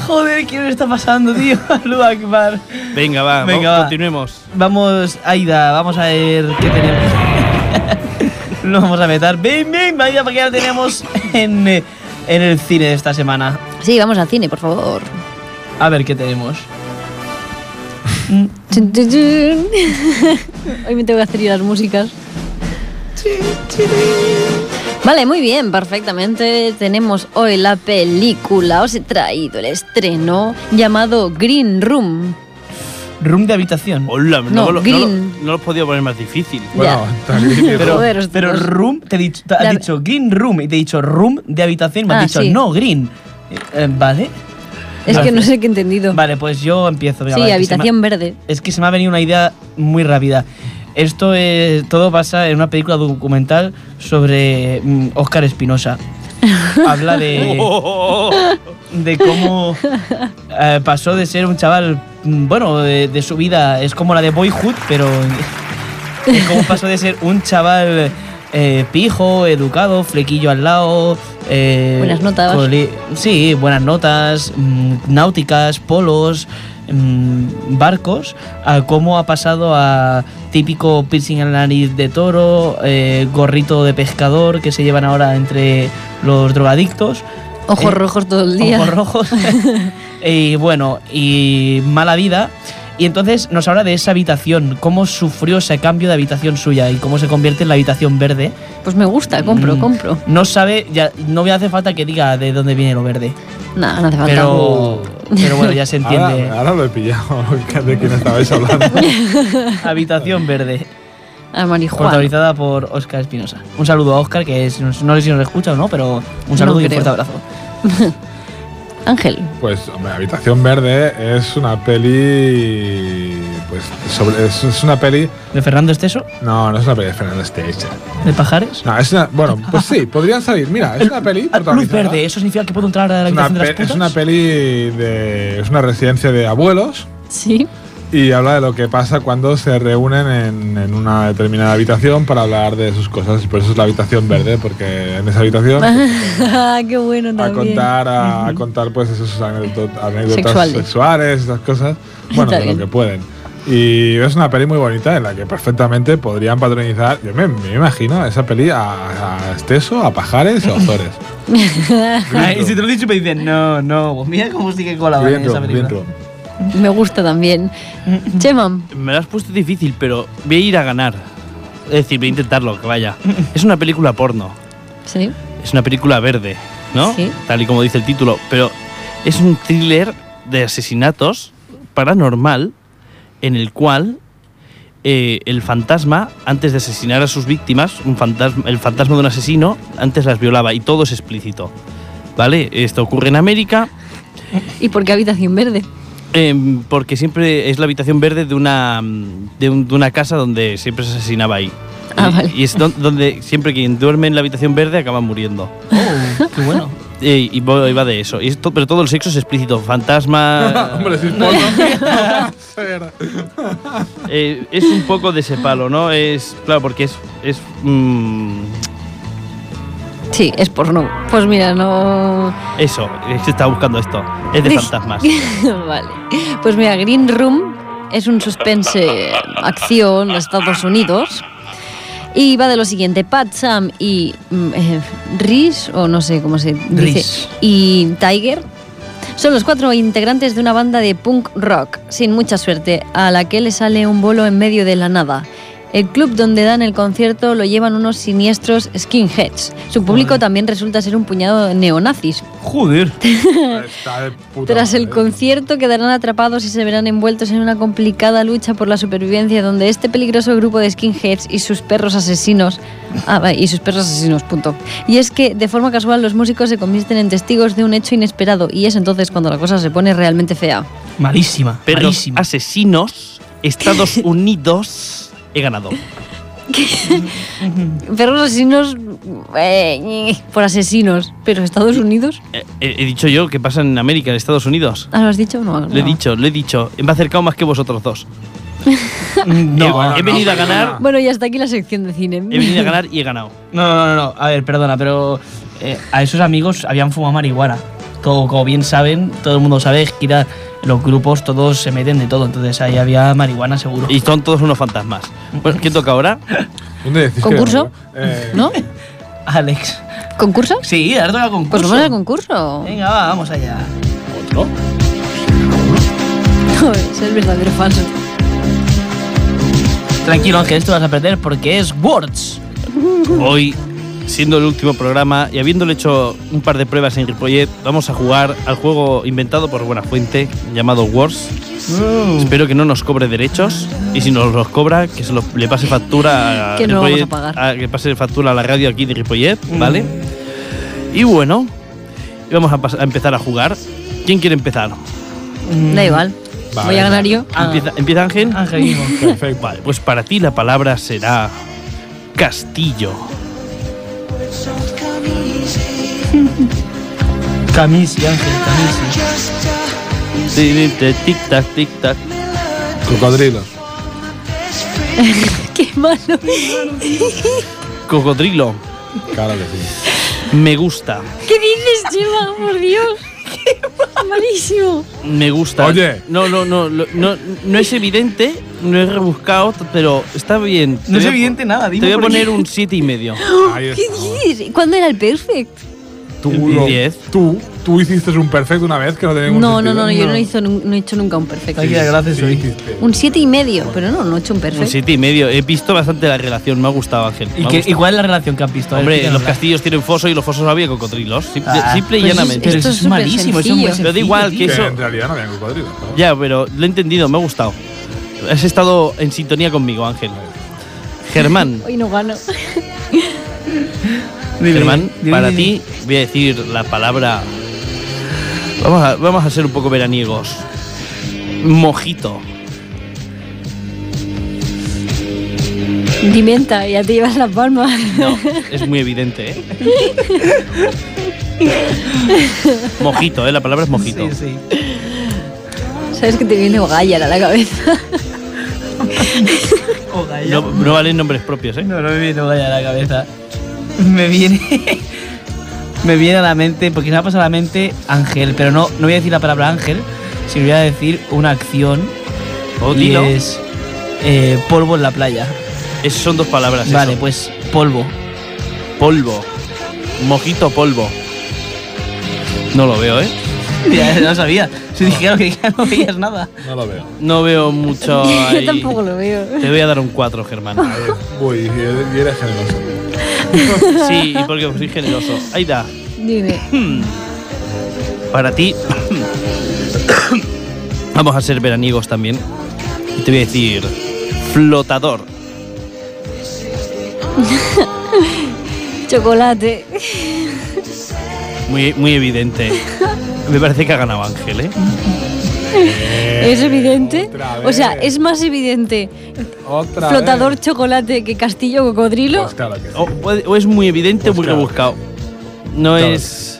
Speaker 4: Joder, ¿qué le está pasando, tío? Alú Akbar.
Speaker 5: Venga, va,
Speaker 4: Venga,
Speaker 5: vamos,
Speaker 4: va.
Speaker 5: continuemos.
Speaker 4: Vamos, Aida, vamos a ver qué tenemos. Lo vamos a meter. Ven, ven, Aida, porque ya lo tenemos en, eh, en el cine de esta semana.
Speaker 2: Sí, vamos al cine, por favor.
Speaker 4: A ver qué tenemos.
Speaker 2: Chun, chun, chun. Hoy me tengo que hacer ir las músicas. Vale, muy bien, perfectamente. Tenemos hoy la película. Os he traído el estreno llamado Green Room.
Speaker 4: Room de habitación.
Speaker 5: Hola,
Speaker 2: No,
Speaker 5: no, lo- no, lo,
Speaker 2: green.
Speaker 5: no lo he podido poner más difícil.
Speaker 3: Bueno, también.
Speaker 2: Pero, Joder, os-
Speaker 4: Pero
Speaker 2: os-
Speaker 4: room, te he dicho, te has
Speaker 2: La-
Speaker 4: dicho green room y te he dicho room de habitación y me has
Speaker 2: Ah,
Speaker 4: dicho
Speaker 2: sí.
Speaker 4: no green. Eh, eh, vale.
Speaker 2: Es que no sé qué he entendido.
Speaker 4: Vale, pues yo empiezo. venga,
Speaker 2: sí,
Speaker 4: va, que se
Speaker 2: Habitación
Speaker 4: me-
Speaker 2: Verde.
Speaker 4: es que se me ha venido una idea muy rápida. Esto es, todo pasa en una película documental sobre Oscar Espinosa. Habla de...
Speaker 5: Oh, oh, oh, oh.
Speaker 4: de cómo eh, pasó de ser un chaval, mm, bueno, de, de su vida, es como la de Boyhood, pero es como pasó de ser un chaval eh, pijo, educado, flequillo al lado. eh,
Speaker 2: Buenas notas.
Speaker 4: coli- Sí, buenas notas, mm, náuticas, polos, mm, barcos, a cómo ha pasado a típico piercing en la nariz de toro, eh, gorrito de pescador que se llevan ahora entre los drogadictos.
Speaker 2: Ojos
Speaker 4: eh,
Speaker 2: rojos todo el día.
Speaker 4: Ojos rojos. y bueno, y mala vida. Y entonces nos habla de esa habitación, cómo sufrió ese cambio de habitación suya y cómo se convierte en la habitación verde.
Speaker 2: Pues me gusta, compro,
Speaker 4: Mm.
Speaker 2: compro.
Speaker 4: No sabe, ya, no me hace falta que diga de dónde viene lo verde.
Speaker 2: Nada, no hace falta.
Speaker 4: Pero, pero bueno, ya se entiende.
Speaker 3: Ahora, ahora lo he pillado de quién estabais hablando.
Speaker 4: Habitación verde,
Speaker 2: Al marihuana.
Speaker 4: protagonizada por Oscar Espinosa. Un saludo a Oscar, que es- no sé si nos escucha o no, pero un saludo y un
Speaker 2: creo.
Speaker 4: fuerte abrazo.
Speaker 2: Ángel.
Speaker 3: Pues, hombre, Habitación Verde es una peli. Pues sobre, es, es una peli.
Speaker 4: ¿De Fernando Esteso?
Speaker 3: No, no es una peli de Fernando Stage.
Speaker 4: ¿De Pajares?
Speaker 3: No, es una. Bueno, pues sí, podrían salir. Mira, es una peli.
Speaker 4: Ah, Luz
Speaker 3: protagonizada-
Speaker 4: verde, eso significa que puedo entrar a la
Speaker 3: Es una,
Speaker 4: habitación de las
Speaker 3: pe- es
Speaker 4: putas.
Speaker 3: una peli de. Es una residencia de abuelos.
Speaker 2: Sí.
Speaker 3: Y habla de lo que pasa cuando se reúnen en, en una determinada habitación para hablar de sus cosas. Y por eso es la habitación verde, porque en esa habitación
Speaker 2: Ah, Qué bueno
Speaker 3: a
Speaker 2: también.
Speaker 3: contar a, a contar pues esas anécdot- anécdotas
Speaker 2: Sexuales.
Speaker 3: sexuales, esas cosas bueno
Speaker 2: Está
Speaker 3: de lo
Speaker 2: bien.
Speaker 3: que pueden y es una peli muy bonita en la que perfectamente podrían patronizar yo me, me imagino esa peli a, a Esteso a Pajares o a Ozores
Speaker 4: Ay, si te lo he dicho, me dicen, no, no, pues mira cómo sí que
Speaker 2: Ah,
Speaker 4: colaba en
Speaker 3: Green
Speaker 4: esa
Speaker 3: Room, Green
Speaker 4: película.
Speaker 3: Room.
Speaker 4: Mm,
Speaker 2: Me gusta también. Chema,
Speaker 5: Me lo has puesto difícil, pero voy a ir a ganar. Es decir, voy a intentarlo, que vaya. Es una película porno.
Speaker 2: Sí.
Speaker 5: Es una película verde, ¿no?
Speaker 2: Sí.
Speaker 5: Tal y como dice el título. Pero es un thriller de asesinatos paranormal en el cual eh, el fantasma, antes de asesinar a sus víctimas, un fantasma, el fantasma de un asesino, antes las violaba y todo es explícito. ¿Vale? Esto ocurre en América.
Speaker 2: ¿Y por qué habitación verde?
Speaker 5: Em, porque siempre es la habitación verde de una, mm, de, un- de una casa donde siempre se asesinaba ahí.
Speaker 2: Ah,
Speaker 5: y,
Speaker 2: vale.
Speaker 5: y es don- donde siempre quien duerme en la habitación verde acaba muriendo.
Speaker 4: Oh, qué bueno.
Speaker 5: Eh, y va va de eso. Y es to- pero todo el sexo es explícito. Fantasma.
Speaker 3: Ah, Hombre, si es porno, no va a ser.
Speaker 5: eh, es un poco de ese palo, ¿no? Es. Claro, porque es. es mm,
Speaker 2: Sí, es porno. Pues mira, no.
Speaker 5: eso. eh, Se está buscando esto. Es de
Speaker 2: Dij-
Speaker 5: fantasmas.
Speaker 2: vale. Pues mira, Green Room es un suspense acción de Estados Unidos. Y va de lo siguiente, Pat, Sam y mm, eh, Riz, o no sé cómo se dice,
Speaker 4: Riz.
Speaker 2: y Tiger, son los cuatro integrantes de una banda de punk rock, sin mucha suerte, a la que le sale un bolo en medio de la nada. El club donde dan el concierto lo llevan unos siniestros skinheads. Su público también resulta ser un puñado de neonazis,
Speaker 5: Joder.
Speaker 3: Está de puta
Speaker 2: tras el
Speaker 3: madre.
Speaker 2: concierto quedarán atrapados y se verán envueltos en una complicada lucha por la supervivencia donde este peligroso grupo de skinheads y sus perros asesinos ah, va, y sus perros asesinos punto. Y es que de forma casual los músicos se convierten en testigos de un hecho inesperado y es entonces cuando la cosa se pone realmente fea.
Speaker 4: Malísima.
Speaker 5: Perros
Speaker 4: malísima.
Speaker 5: asesinos. Estados Unidos. He ganado.
Speaker 2: Perros asesinos eh, ñe, por asesinos, pero Estados Unidos.
Speaker 5: Eh, eh, he dicho yo que pasa en América, en Estados Unidos.
Speaker 2: Ah, ¿lo has dicho? No,
Speaker 5: Lo he
Speaker 2: no.
Speaker 5: dicho, lo he dicho. Me he acercado más que vosotros dos.
Speaker 4: No, eh,
Speaker 5: he,
Speaker 3: bueno,
Speaker 5: he venido
Speaker 3: no,
Speaker 5: a ganar.
Speaker 2: Bueno, y hasta aquí la sección de cine.
Speaker 5: He venido a ganar y he ganado.
Speaker 4: No, no, no, no. A ver, perdona, pero eh, a esos amigos habían fumado marihuana. Como, como bien saben, todo el mundo sabe, gira los grupos, todos se meten de todo. Entonces ahí había marihuana seguro.
Speaker 5: Y son todos unos fantasmas. Bueno, ¿qué toca ahora?
Speaker 3: ¿Dónde decís que
Speaker 2: ¿Concurso?
Speaker 3: era? Eh,
Speaker 2: ¿No?
Speaker 4: Alex.
Speaker 2: ¿Concurso?
Speaker 4: Sí, ahora toca concurso.
Speaker 2: Pues vamos al concurso.
Speaker 4: Venga, va, vamos allá.
Speaker 2: es el verdadero falso.
Speaker 4: Tranquilo, Ángel, esto vas a perder porque es Words.
Speaker 5: Hoy, siendo el último programa y habiéndole hecho un par de pruebas en Ripollet, vamos a jugar al juego inventado por Buena Fuente llamado Wars. Espero que no nos cobre derechos y si nos los cobra, que se los- le pase factura a
Speaker 2: Que no lo vamos a
Speaker 5: Ripollet,
Speaker 2: pagar.
Speaker 5: que pase factura a la radio aquí de Ripollet, ¿vale? Y bueno, vamos a, pas- a empezar a jugar. ¿Quién quiere empezar?
Speaker 2: Da igual.
Speaker 3: Vale,
Speaker 2: Voy a ganar yo.
Speaker 5: Ah. ¿Empieza, empieza Ángel?
Speaker 4: Ángel mismo.
Speaker 3: Perfecto.
Speaker 5: Vale, pues para ti la palabra será castillo.
Speaker 4: Camisi, Ángel, Camisi.
Speaker 5: Tic tac, tic tac.
Speaker 3: Cocodrilos.
Speaker 2: Qué malo.
Speaker 5: Cocodrilo.
Speaker 3: Claro que sí.
Speaker 5: Me gusta.
Speaker 2: ¿Qué dices, Chema? Por Dios. Malísimo.
Speaker 5: Me gusta.
Speaker 3: Oye.
Speaker 5: No, no, no, lo- no. No es evidente, no es rebuscado, t- pero está bien. Te
Speaker 4: No es
Speaker 5: voy a-
Speaker 4: evidente nada,
Speaker 5: Te
Speaker 4: dime.
Speaker 5: voy a
Speaker 4: por qué.
Speaker 5: poner un siete y medio.
Speaker 3: Ahí
Speaker 2: ¿Qué
Speaker 3: está.
Speaker 2: dices? ¿Cuándo era el perfect?
Speaker 3: Tú,
Speaker 5: Un
Speaker 3: lo-
Speaker 5: diez.
Speaker 3: tú, tú hiciste un perfecto una vez que no tenía ningún
Speaker 2: No, no,
Speaker 3: sentido.
Speaker 2: no, yo no, hizo nun- no he hecho nunca un perfect.
Speaker 4: Hay que dar gracias
Speaker 3: Sí,
Speaker 4: hoy.
Speaker 3: hiciste.
Speaker 2: Un siete y medio, pero no, no he hecho un perfect.
Speaker 5: Un siete y medio. He visto bastante la relación, me ha gustado, Ángel. me
Speaker 4: ¿Y,
Speaker 5: ha
Speaker 4: qué-
Speaker 5: gustado.
Speaker 4: y cuál es la relación que has visto? A ver,
Speaker 5: Hombre, los
Speaker 4: explícanosla.
Speaker 5: castillos tienen foso y los fosos había cocodrilos. Simple,
Speaker 4: Ah,
Speaker 5: simple y
Speaker 2: pues eso es-
Speaker 5: llanamente.
Speaker 4: Pero
Speaker 2: Esto
Speaker 4: eso
Speaker 2: es
Speaker 4: es malísimo, eso es muy
Speaker 2: supersencillo.
Speaker 5: Pero da igual,
Speaker 4: sencillo,
Speaker 5: que
Speaker 4: tío.
Speaker 3: Que
Speaker 5: eso-
Speaker 3: en realidad no había cocodrilos. ¿no?
Speaker 5: Ya, pero lo he entendido, me ha gustado. Has estado en sintonía conmigo, Ángel. Germán,
Speaker 2: Hoy no gano.
Speaker 4: Dime,
Speaker 5: Germán,
Speaker 4: dime,
Speaker 5: para
Speaker 4: dime.
Speaker 5: ti voy a decir la palabra. Vamos a, vamos a ser un poco veraniegos. Mojito.
Speaker 2: Pimenta, ya te llevas la palma.
Speaker 5: No, es muy evidente, ¿eh? mojito, ¿eh? La palabra es mojito.
Speaker 4: Sí, sí.
Speaker 2: Sabes que te viene O'Gallagher a la cabeza.
Speaker 4: O Gaia.
Speaker 5: No, no valen nombres propios, ¿eh?
Speaker 4: No, no me viene Gaia a la cabeza. Me viene. me viene a la mente, porque se me ha pasado a la mente Ángel, pero no, no voy a decir la palabra Ángel, sino voy a decir una acción.
Speaker 5: O
Speaker 4: y
Speaker 5: dilo.
Speaker 4: es. eh, polvo en la playa.
Speaker 5: Es- son dos palabras. eso.
Speaker 4: Vale, pues polvo.
Speaker 5: Polvo. Mojito polvo. No lo veo, ¿eh?
Speaker 4: Ya lo sabía. Si dijeron que ya no veías nada.
Speaker 3: No lo veo.
Speaker 5: No veo mucho. ahí.
Speaker 2: Yo tampoco lo veo.
Speaker 5: Te voy a dar un 4, Germán.
Speaker 3: Uy, Eh, y eres generoso.
Speaker 5: Sí, y porque soy generoso. Aida,
Speaker 2: Dime.
Speaker 5: para ti. Vamos a ser veraniegos también. Y te voy a decir. Flotador.
Speaker 2: Chocolate.
Speaker 5: Muy, muy evidente. Me parece que ha ganado Ángel, ¿eh?
Speaker 2: ¿Es evidente?
Speaker 3: otra
Speaker 2: O sea,
Speaker 3: vez.
Speaker 2: es más evidente
Speaker 3: Otra
Speaker 2: flotador
Speaker 3: vez.
Speaker 2: chocolate que castillo cocodrilo.
Speaker 3: Pues claro que sí.
Speaker 5: O, puede- o es muy evidente o
Speaker 3: Pues
Speaker 5: muy
Speaker 3: claro.
Speaker 5: rebuscado. No
Speaker 3: Claro.
Speaker 5: es.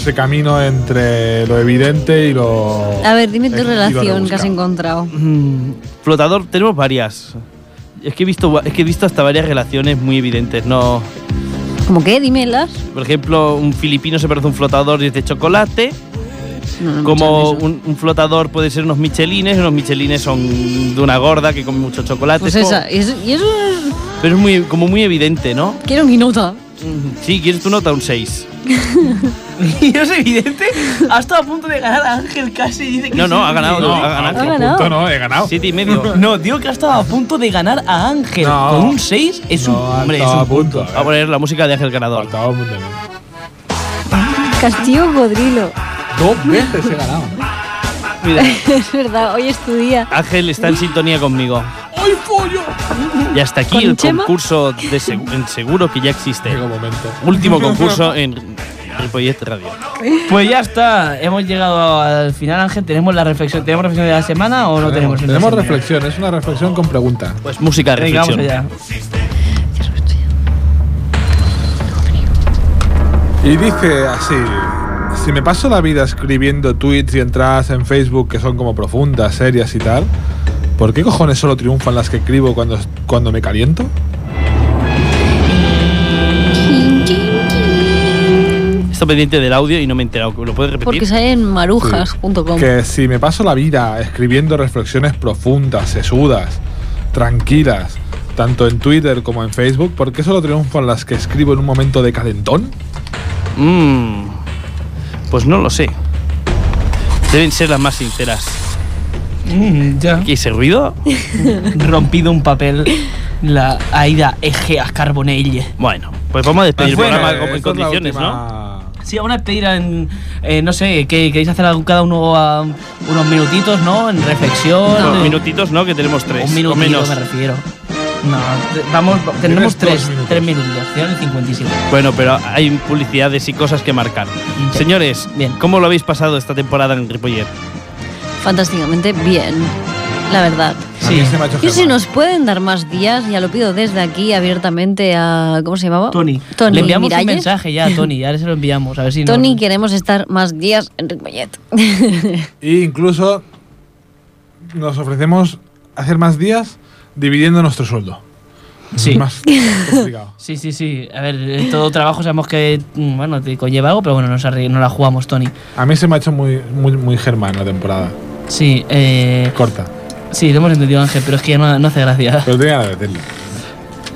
Speaker 3: Ese camino entre lo evidente y lo.
Speaker 2: A ver, dime
Speaker 3: y
Speaker 2: tu
Speaker 3: lo
Speaker 2: relación que has
Speaker 3: rebuscado.
Speaker 2: encontrado.
Speaker 5: Mm, flotador, tenemos varias. Es que he visto va- es que he visto hasta varias relaciones muy evidentes, no.
Speaker 2: ¿Cómo qué? Dímelas.
Speaker 5: Por ejemplo, un filipino se parece a un flotador y es de chocolate,
Speaker 2: No, no me
Speaker 5: como
Speaker 2: sale eso.
Speaker 5: un, un flotador puede ser unos michelines, unos michelines son de una gorda que come mucho chocolate.
Speaker 2: Pues
Speaker 5: es como-
Speaker 2: esa. Y eso, y eso es-
Speaker 5: Pero es muy, como muy evidente, ¿no?
Speaker 2: Quiero mi nota.
Speaker 5: Mm, Sí, quieres tu nota un 6.
Speaker 4: Y es evidente. Ha estado a punto de ganar a Ángel casi. y Dice que
Speaker 5: No,
Speaker 4: sí.
Speaker 5: no, ha ganado, ha ganado.
Speaker 2: Ah,
Speaker 3: otro
Speaker 2: ganado.
Speaker 3: punto no, he ganado.
Speaker 5: Siete y medio.
Speaker 4: No, digo que ha estado a punto de ganar a Ángel.
Speaker 3: No.
Speaker 4: Con un 6 es un.
Speaker 3: No, ha
Speaker 4: Hombre, es
Speaker 3: estado
Speaker 4: un eh.
Speaker 3: a punto.
Speaker 5: Voy a poner la música de Ángel Ganador.
Speaker 3: Faltaba un punto.
Speaker 2: Castillo cocodrilo.
Speaker 3: Dos veces he ganado.
Speaker 5: Mira,
Speaker 2: es verdad, hoy es tu día.
Speaker 5: Ángel está en sintonía conmigo. Y hasta aquí
Speaker 2: ¿Con
Speaker 5: el
Speaker 2: Chema?
Speaker 5: concurso de seg- en seguro que ya existe.
Speaker 3: Llega un momento.
Speaker 5: Último concurso en Ripollet Radio.
Speaker 4: Pues ya está. Hemos llegado al final, Ángel. ¿Tenemos la reflexión? ¿Tenemos reflexión de la semana o no tenemos?
Speaker 3: Tenemos
Speaker 4: reflexión.
Speaker 3: reflexión, es una reflexión con pregunta.
Speaker 5: Pues música de
Speaker 4: Venga, vamos
Speaker 5: reflexión.
Speaker 4: allá.
Speaker 3: Y dice así: Si me paso la vida escribiendo tweets y entradas en Facebook que son como profundas, serias y tal, ¿por qué cojones solo triunfan las que escribo cuando, cuando me caliento?
Speaker 5: Está pendiente del audio y no me he enterado. ¿Lo puedes
Speaker 2: Porque
Speaker 5: repetir?
Speaker 2: sale en marujas.com.
Speaker 3: Que si me paso la vida escribiendo reflexiones profundas, sesudas, tranquilas, tanto en Twitter como en Facebook, ¿por qué solo triunfan las que escribo en un momento de calentón?
Speaker 5: Mm, pues no lo sé. Deben ser las más sinceras.
Speaker 4: Mm, ya.
Speaker 5: ¿Qué ese ruido?
Speaker 4: Rompido un papel. La Aida Egeas Carbonell.
Speaker 5: Bueno, pues vamos a despedir
Speaker 3: Bueno,
Speaker 5: el programa
Speaker 3: esta
Speaker 5: como en
Speaker 3: es la
Speaker 5: condiciones, ¿no?
Speaker 3: última-
Speaker 4: Sí, vamos a despedir en. eh, no sé, ¿qué, ¿queréis hacer algo- cada uno a- unos minutitos, no? En reflexión.
Speaker 5: Unos
Speaker 4: eh,
Speaker 5: minutitos, ¿no? Que tenemos tres.
Speaker 4: Un
Speaker 5: o
Speaker 4: minutito
Speaker 5: menos.
Speaker 4: me refiero. No, te- vamos, tenemos
Speaker 3: dos
Speaker 4: tres,
Speaker 3: minutos.
Speaker 4: tres minutos, quedan 57.
Speaker 5: Bueno, pero hay publicidades y cosas que marcar.
Speaker 4: Sí.
Speaker 5: Señores,
Speaker 4: Bien.
Speaker 5: ¿cómo lo habéis pasado esta temporada en Ripollet?
Speaker 2: Fantásticamente bien. La verdad.
Speaker 3: A mí se me ha hecho
Speaker 2: Yo si
Speaker 3: Germán.
Speaker 2: nos pueden dar más días, ya lo pido desde aquí abiertamente a... ¿Cómo se llamaba?
Speaker 4: Tony,
Speaker 2: Oh, Tony
Speaker 4: le enviamos
Speaker 2: Miralles.
Speaker 4: un mensaje ya a Tony, ahora se lo enviamos, a ver si
Speaker 2: Tony,
Speaker 4: no-
Speaker 2: queremos estar más días en Ripollet.
Speaker 3: Y incluso nos ofrecemos hacer más días dividiendo nuestro sueldo.
Speaker 4: Sí.
Speaker 3: Es más complicado.
Speaker 4: Sí, sí, sí. A ver, eh, todo trabajo sabemos que, mm, bueno, te conlleva algo, pero bueno, nos arre- no la jugamos, Tony.
Speaker 3: A mí se me ha hecho muy, muy, muy germán la temporada.
Speaker 4: Sí, eh,
Speaker 3: Corta.
Speaker 4: sí, lo hemos entendido, Ángel, pero es que ya no, no hace gracia.
Speaker 3: Pero tenía que decirlo.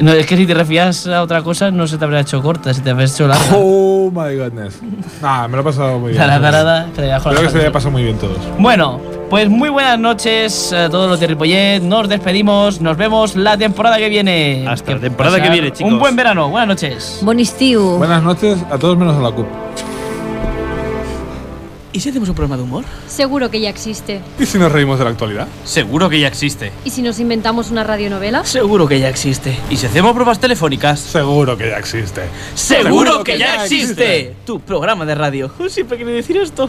Speaker 4: No, es que si te refieras a otra cosa, no se te habrá hecho corta, se te habrá hecho larga.
Speaker 3: Oh my goodness. Nah, me lo he pasado
Speaker 4: O
Speaker 3: muy bien.
Speaker 4: sea, la parada, te la dejo la
Speaker 3: Creo que se
Speaker 4: cara.
Speaker 3: le ha pasado muy bien todos.
Speaker 4: Bueno, pues muy buenas noches a todos los de Ripollet. Nos despedimos, nos vemos la temporada que viene.
Speaker 5: Hasta la temporada que
Speaker 4: pasar
Speaker 5: viene, chicos.
Speaker 4: Un buen verano, buenas noches.
Speaker 2: Bonistiu.
Speaker 3: Buenas noches a todos menos a la CUP.
Speaker 1: ¿Y si hacemos un programa de humor?
Speaker 9: Seguro que ya existe.
Speaker 3: ¿Y si nos reímos de la actualidad?
Speaker 5: Seguro que ya existe.
Speaker 9: ¿Y si nos inventamos una radionovela?
Speaker 1: Seguro que ya existe.
Speaker 5: ¿Y si hacemos pruebas telefónicas?
Speaker 3: Seguro que ya existe.
Speaker 1: ¡Seguro
Speaker 3: que ya existe!
Speaker 1: Tu programa de radio. Siempre quería decir esto.